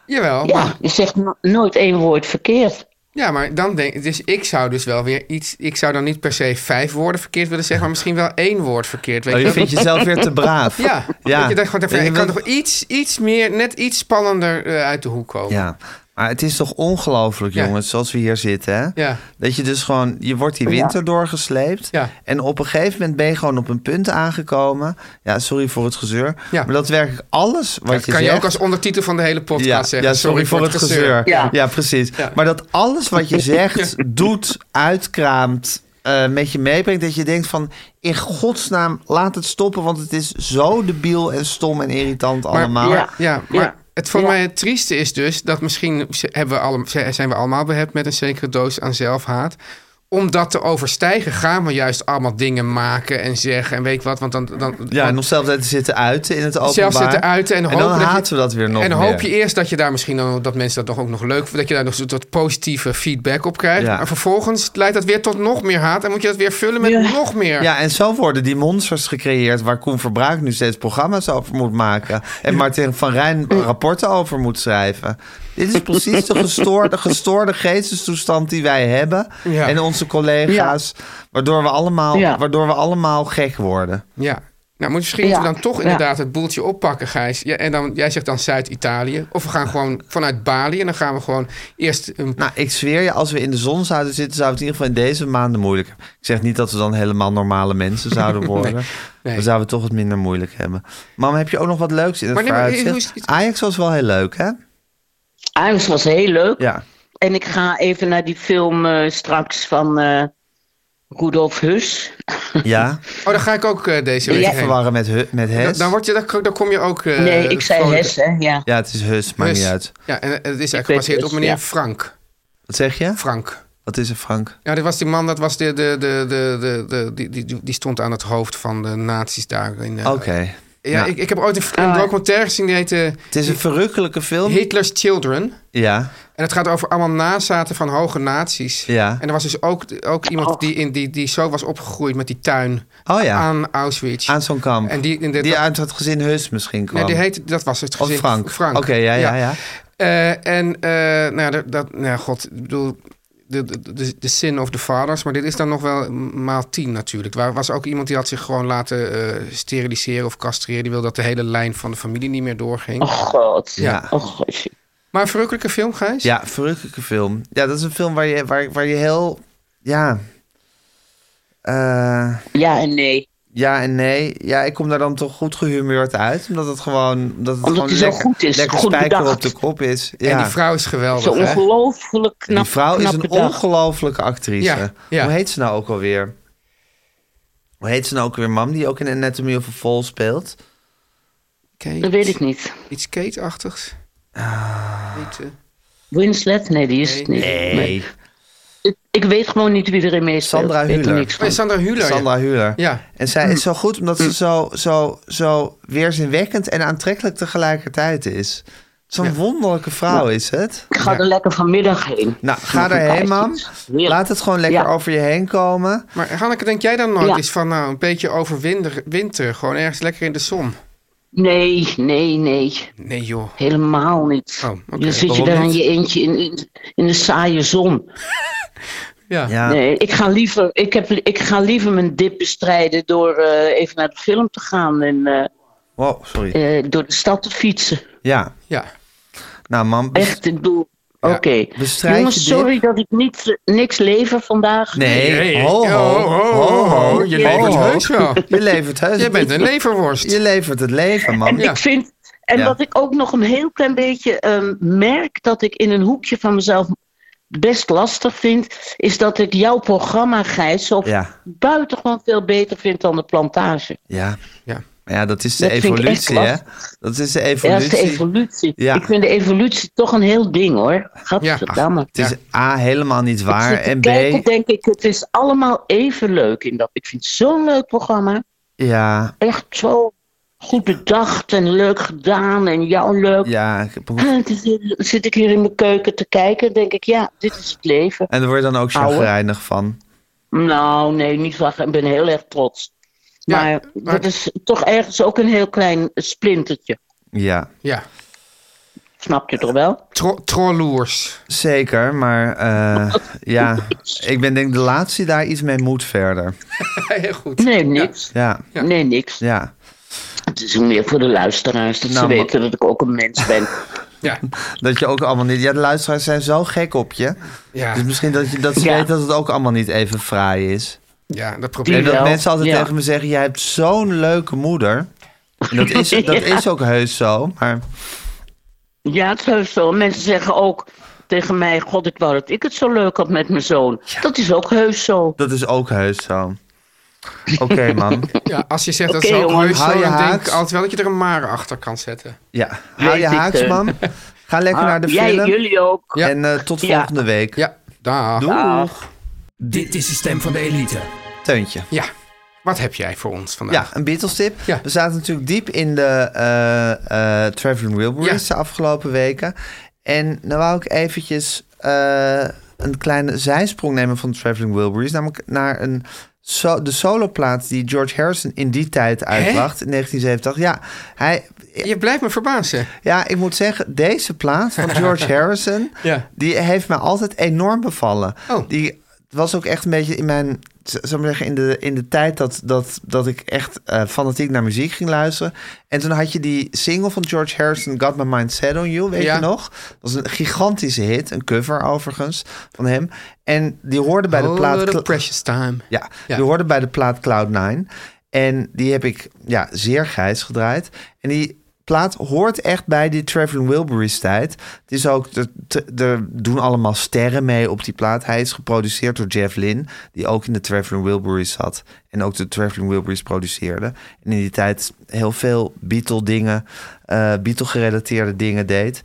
Jawel, maar... Ja, je zegt no- nooit één woord verkeerd. Ja, maar dan denk dus ik zou dus wel weer iets. Ik zou dan niet per se vijf woorden verkeerd willen zeggen, maar misschien wel één woord verkeerd. Weet Oh, je je wel? vindt jezelf weer te braaf. Ja, ja. Dat je dacht gewoon, even, ik kan bent- nog iets, iets meer, net iets spannender eh, uit de hoek komen. Ja, maar het is toch ongelooflijk, Ja. jongens, zoals we hier zitten, hè? Ja. Dat je dus gewoon, je wordt die winter doorgesleept. Ja. En op een gegeven moment ben je gewoon op een punt aangekomen. Ja, sorry voor het gezeur. Ja. Maar dat werkt alles wat dat je kan zegt. je ook als ondertitel van de hele podcast ja, zeggen. ja, sorry voor het gezeur. Ja. Ja. precies. Ja. Maar dat alles wat je zegt, doet, uitkraamt, eh, met je meebrengt... dat je denkt van, in godsnaam, laat het stoppen... want het is zo debiel en stom en irritant allemaal. ja. Ja, maar Ja. het voor Ja. mij het trieste is dus dat misschien ze- hebben we allemaal, zijn we allemaal behept met een zekere doos aan zelfhaat. om dat te overstijgen gaan we juist allemaal dingen maken en zeggen en weet ik wat. Want dan, dan, Ja, want- en nog zelf zitten- zitten uiten in het openbaar. zelf zitten uiten en, dan hopen dat je- haten we dat weer nog En dan hoop je meer. eerst dat je daar misschien dan, dat mensen dat nog ook nog leuk dat je daar nog zo wat positieve feedback op krijgt. Ja. Maar vervolgens leidt dat weer tot nog meer haat en moet je dat weer vullen met nog meer. Ja, en zo worden die monsters gecreëerd waar Koen Verbruik nu steeds programma's over moet maken. En Martin van Rijn rapporten over moet schrijven. Dit is precies de gestoorde, gestoorde geestestoestand die wij hebben. Ja. En onze collega's. Waardoor, we allemaal, Ja. waardoor we allemaal gek worden. Ja. Nou, moet- misschien moeten we Ja, dan toch ja. inderdaad het boeltje oppakken, Gijs. Ja, en dan, jij zegt dan Zuid-Italië. Of we gaan gewoon vanuit Bali en dan gaan we gewoon eerst... Een, Nou, ik zweer je, als we in de zon zouden zitten, zouden we het in ieder geval in deze maanden moeilijk hebben. Ik zeg niet dat we dan helemaal normale mensen zouden worden. nee. Dan zouden we het toch wat minder moeilijk hebben. Mam, heb je ook nog wat leuks in het Maar nee, maar hoe is vooruitzicht? het- Ajax was wel heel leuk, hè? Ajax was heel leuk. Ja. En ik ga even naar die film eh, straks van eh Rudolf Hus. Ja. oh, dan ga ik ook eh, deze Niet week te heen. verwarren met, hu- met Dan, Hes. dan word je, dan, dan kom je ook... eh, nee, ik zei vrolijk- Hes, hè. Ja. Ja, het is Hus, maakt Hus. niet uit. Ja, en eh, het is eigenlijk weet gebaseerd Hus, op meneer ja. Frank. Wat zeg je? Frank. Wat is er, Frank? Ja, dit was die man, dat was de, de, de, de, de, de- die, die, die- die stond aan het hoofd van de nazi's daar. In, eh, Oké. nou. Ja, Ja. Ik, ik heb ooit een, een documentaire gezien die heette Het is een verrukkelijke film. Hitler's Children. Ja. En het gaat over allemaal nazaten van hoge nazi's. Ja. En er was dus ook, ook iemand die, in, die, die zo was opgegroeid met die tuin Oh ja. Aan, aan Auschwitz. zo'n kamp. en die, in de, die uit het gezin Hus misschien kwam. nee, die heette, dat was het of gezin. Frank. Oké, ja, ja, ja. Eh, en, eh, nou ja, dat, dat- nou ja, god, ik bedoel, de, de, de, de sin of the fathers, maar dit is dan nog wel maal tien natuurlijk. Waar was ook iemand die had zich gewoon laten eh, steriliseren of castreren. Die wilde dat de hele lijn van de familie niet meer doorging. Oh god. Ja. Oh, god. Maar een verrukkelijke film, Gijs? Ja, verrukkelijke film. Ja, dat is een film waar je, waar, waar je heel... Ja. Eh, ja en nee. ja en nee. Ja, ik kom daar dan toch goed gehumeurd uit. Omdat het gewoon... Omdat het, gewoon het zo lekker, goed is, Lekker goed spijker bedacht. op de kop is. Ja. En die vrouw is Zo geweldig, hè? ongelooflijk knap. Die vrouw is knap een bedacht. ongelofelijke actrice. Ja, ja. Hoe heet ze nou ook alweer? Hoe heet ze nou ook weer, mam? Die ook in Anatomy of a Fall speelt. Kate, Dat weet ik niet. Ah. Iets Kate-achtigs. Niet, eh, Winslet? Nee, die is het niet. Nee. Ik, ik weet gewoon niet wie erin mee speelt. Sandra Ik weet er Hüller. niks van. nee, Sandra Hüller. ja. Sandra Hüller. Ja. En zij is zo goed omdat Mm. ze zo, zo, zo weerzinwekkend en aantrekkelijk tegelijkertijd is. Zo'n wonderlijke vrouw is het. Ik ga Ja. er lekker vanmiddag heen. Nou, ga Nog een daarheen, paar mam. iets. Heerlijk. Laat het gewoon lekker Ja. over je heen komen. Maar Hanneke, denk jij dan nooit Ja. eens van nou, een beetje overwinter, winter, gewoon ergens lekker in de zon? Nee, nee, nee. Nee joh. Helemaal niet. Oh, oké. Dan zit je Waarom daar in niet? je eentje in, in, in de saaie zon. Ja. Ja. Nee, ik ga, liever, ik, heb, ik ga liever mijn dip bestrijden door eh, even naar de film te gaan en Wow, sorry. eh, eh, door de stad te fietsen. Ja. ja. Nou, mam. bes- Echt, ik bedoel. Oké. bestrijd je Jongens, dip. sorry dat ik niks, niks lever vandaag. Nee. Nee. Ho, ho, Oh, oh, ho, ho. Je levert Ho, ho. heus wel. Je levert heus. Jij bent een leverworst. Je levert het leven, man. Ja. Ik vind, en Ja. wat ik ook nog een heel klein beetje ehm, merk dat ik in een hoekje van mezelf best lastig vind, is dat ik jouw programma, Gijs, zo Ja. buitengewoon veel beter vind dan de plantage. Ja. Ja. Maar ja, dat is de Dat vind ik echt evolutie, hè? Dat is de Ja, dat is evolutie. de evolutie. Ja. Ik vind de evolutie toch een heel ding hoor. Gadverdamme. het is A, helemaal niet waar. Ik zit te En B, kijken, denk ik, het is allemaal even leuk. In dat. Ik vind het zo'n leuk programma. ja, Echt zo goed bedacht en leuk gedaan. En jou leuk. ja. ik heb ook- En Ah, dan zit ik hier in mijn keuken te kijken. denk ik, ja, dit is het leven. En daar word je dan ook Ouwe. chagrijnig van. Nou, nee, niet wachten. Ik ben heel erg trots. Ja, maar, maar- dat is toch ergens ook een heel klein splintertje. Ja, Ja. Snap je toch wel? Tro trolloers. zeker. Maar eh, ja, ik ben denk ik de laatste die daar iets mee moet verder. Heel goed. Nee, niks. Ja, Nee, niks. ja. Het is meer voor de luisteraars. Dat Nou, ze maar- weten dat ik ook een mens ben. Ja. Dat je ook allemaal niet... Ja, de luisteraars zijn zo gek op je. Ja. Dus misschien dat, je, dat ze Ja. weten dat het ook allemaal niet even fraai is. ja, dat En probleem. dat Jawel, mensen altijd ja. tegen me zeggen... Jij hebt zo'n leuke moeder. En Dat is, dat is ook heus zo. Maar Ja, het is heus zo. Mensen zeggen ook tegen mij: God, ik wou dat ik het zo leuk had met mijn zoon. Dat is ook heus zo. dat is ook heus zo. Oké, man. Ja, als je zegt Oké, dat is ook jongen. heus Hou zo, je dan denk ik haaks. altijd wel dat je er een mare achter kan zetten. Ja, hou Weet je ik, haaks, eh. Ah, man. Ga lekker naar de Jij, film. jullie ook. Ja. En eh, tot Ja. volgende week. Ja, daar. Doeg. Dag. Dit is de stem van de elite. Teuntje. Ja, wat heb jij voor ons vandaag? Ja, een Beatles tip. Ja. We zaten natuurlijk diep in de eh eh Traveling Wilburys Ja. de afgelopen weken. En dan wou ik eventjes eh, een kleine zijsprong nemen van de Traveling Wilburys. Namelijk naar een so de soloplaat die George Harrison in die tijd uitbracht. In 1970. Ja, hij Je blijft me verbazen. ja, ik moet zeggen, deze plaat van George Harrison, Ja. die heeft mij altijd enorm bevallen. Oh. Die was ook echt een beetje in mijn, z- zal ik maar zeggen, in de, in de tijd dat, dat, dat ik echt eh, fanatiek naar muziek ging luisteren. En toen had je die single van George Harrison, Got My Mind Set On You, weet Ja. je nog? Dat was een gigantische hit, een cover overigens, van hem. En die hoorde bij de Oh, plaat... little precious time. Ja, Ja. die hoorde bij de plaat Cloud9. En die heb ik ja, zeer grijs gedraaid. En die plaat hoort echt bij die Traveling Wilburys tijd. Het is ook, er, te- er doen allemaal sterren mee op die plaat. Hij is geproduceerd door Jeff Lynne, die ook in de Traveling Wilburys zat. En ook de Traveling Wilburys produceerde. En in die tijd heel veel Beatle dingen, eh Beatle gerelateerde dingen deed.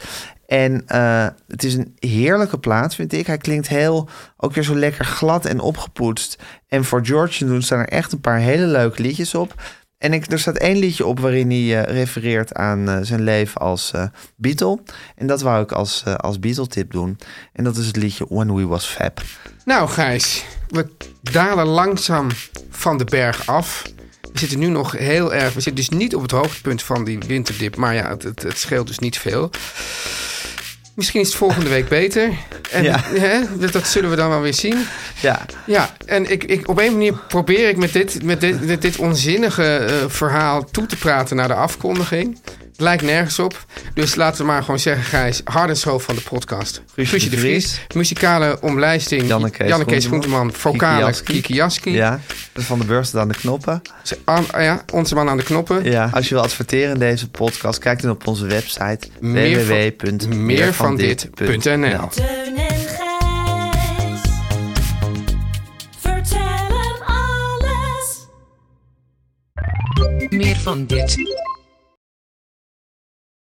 En eh, het is een heerlijke plaat, vind ik. Hij klinkt heel, ook weer zo lekker glad en opgepoetst. En voor George te doen staan er echt een paar hele leuke liedjes op. En ik, er staat één liedje op waarin hij eh, refereert aan eh, zijn leven als eh, Beatle. En dat wou ik als, eh, als Beatle-tip doen. En dat is het liedje When We Was Fab. Nou, Gijs, we dalen langzaam van de berg af. We zitten nu nog heel erg. We zitten dus niet op het hoogtepunt van die winterdip. Maar ja, het, het, het scheelt dus niet veel. Misschien is het volgende week beter. En Ja. hè, dat, dat zullen we dan wel weer zien. Ja, Ja, en ik, ik, op een manier probeer ik met dit, met dit, met dit onzinnige eh, verhaal toe te praten naar de afkondiging. Het lijkt nergens op. Dus laten we maar gewoon zeggen, Gijs, Hardenschoof van de podcast. Guusje Guusje de Vries. Muzikale omlijsting. Janneke Kees Kees Groenteman. Groenteman. Kiki Vocale Jaski. Kiki Jaski. ja. Van de beurs tot aan de knoppen. Z- aan- ja, onze man aan de knoppen. Ja. Als je wil adverteren in deze podcast, kijk dan op onze website Meer van- www.meervandit.nl meervandit.nl. Teun en Gijs. Vertel hem alles. Meer van dit.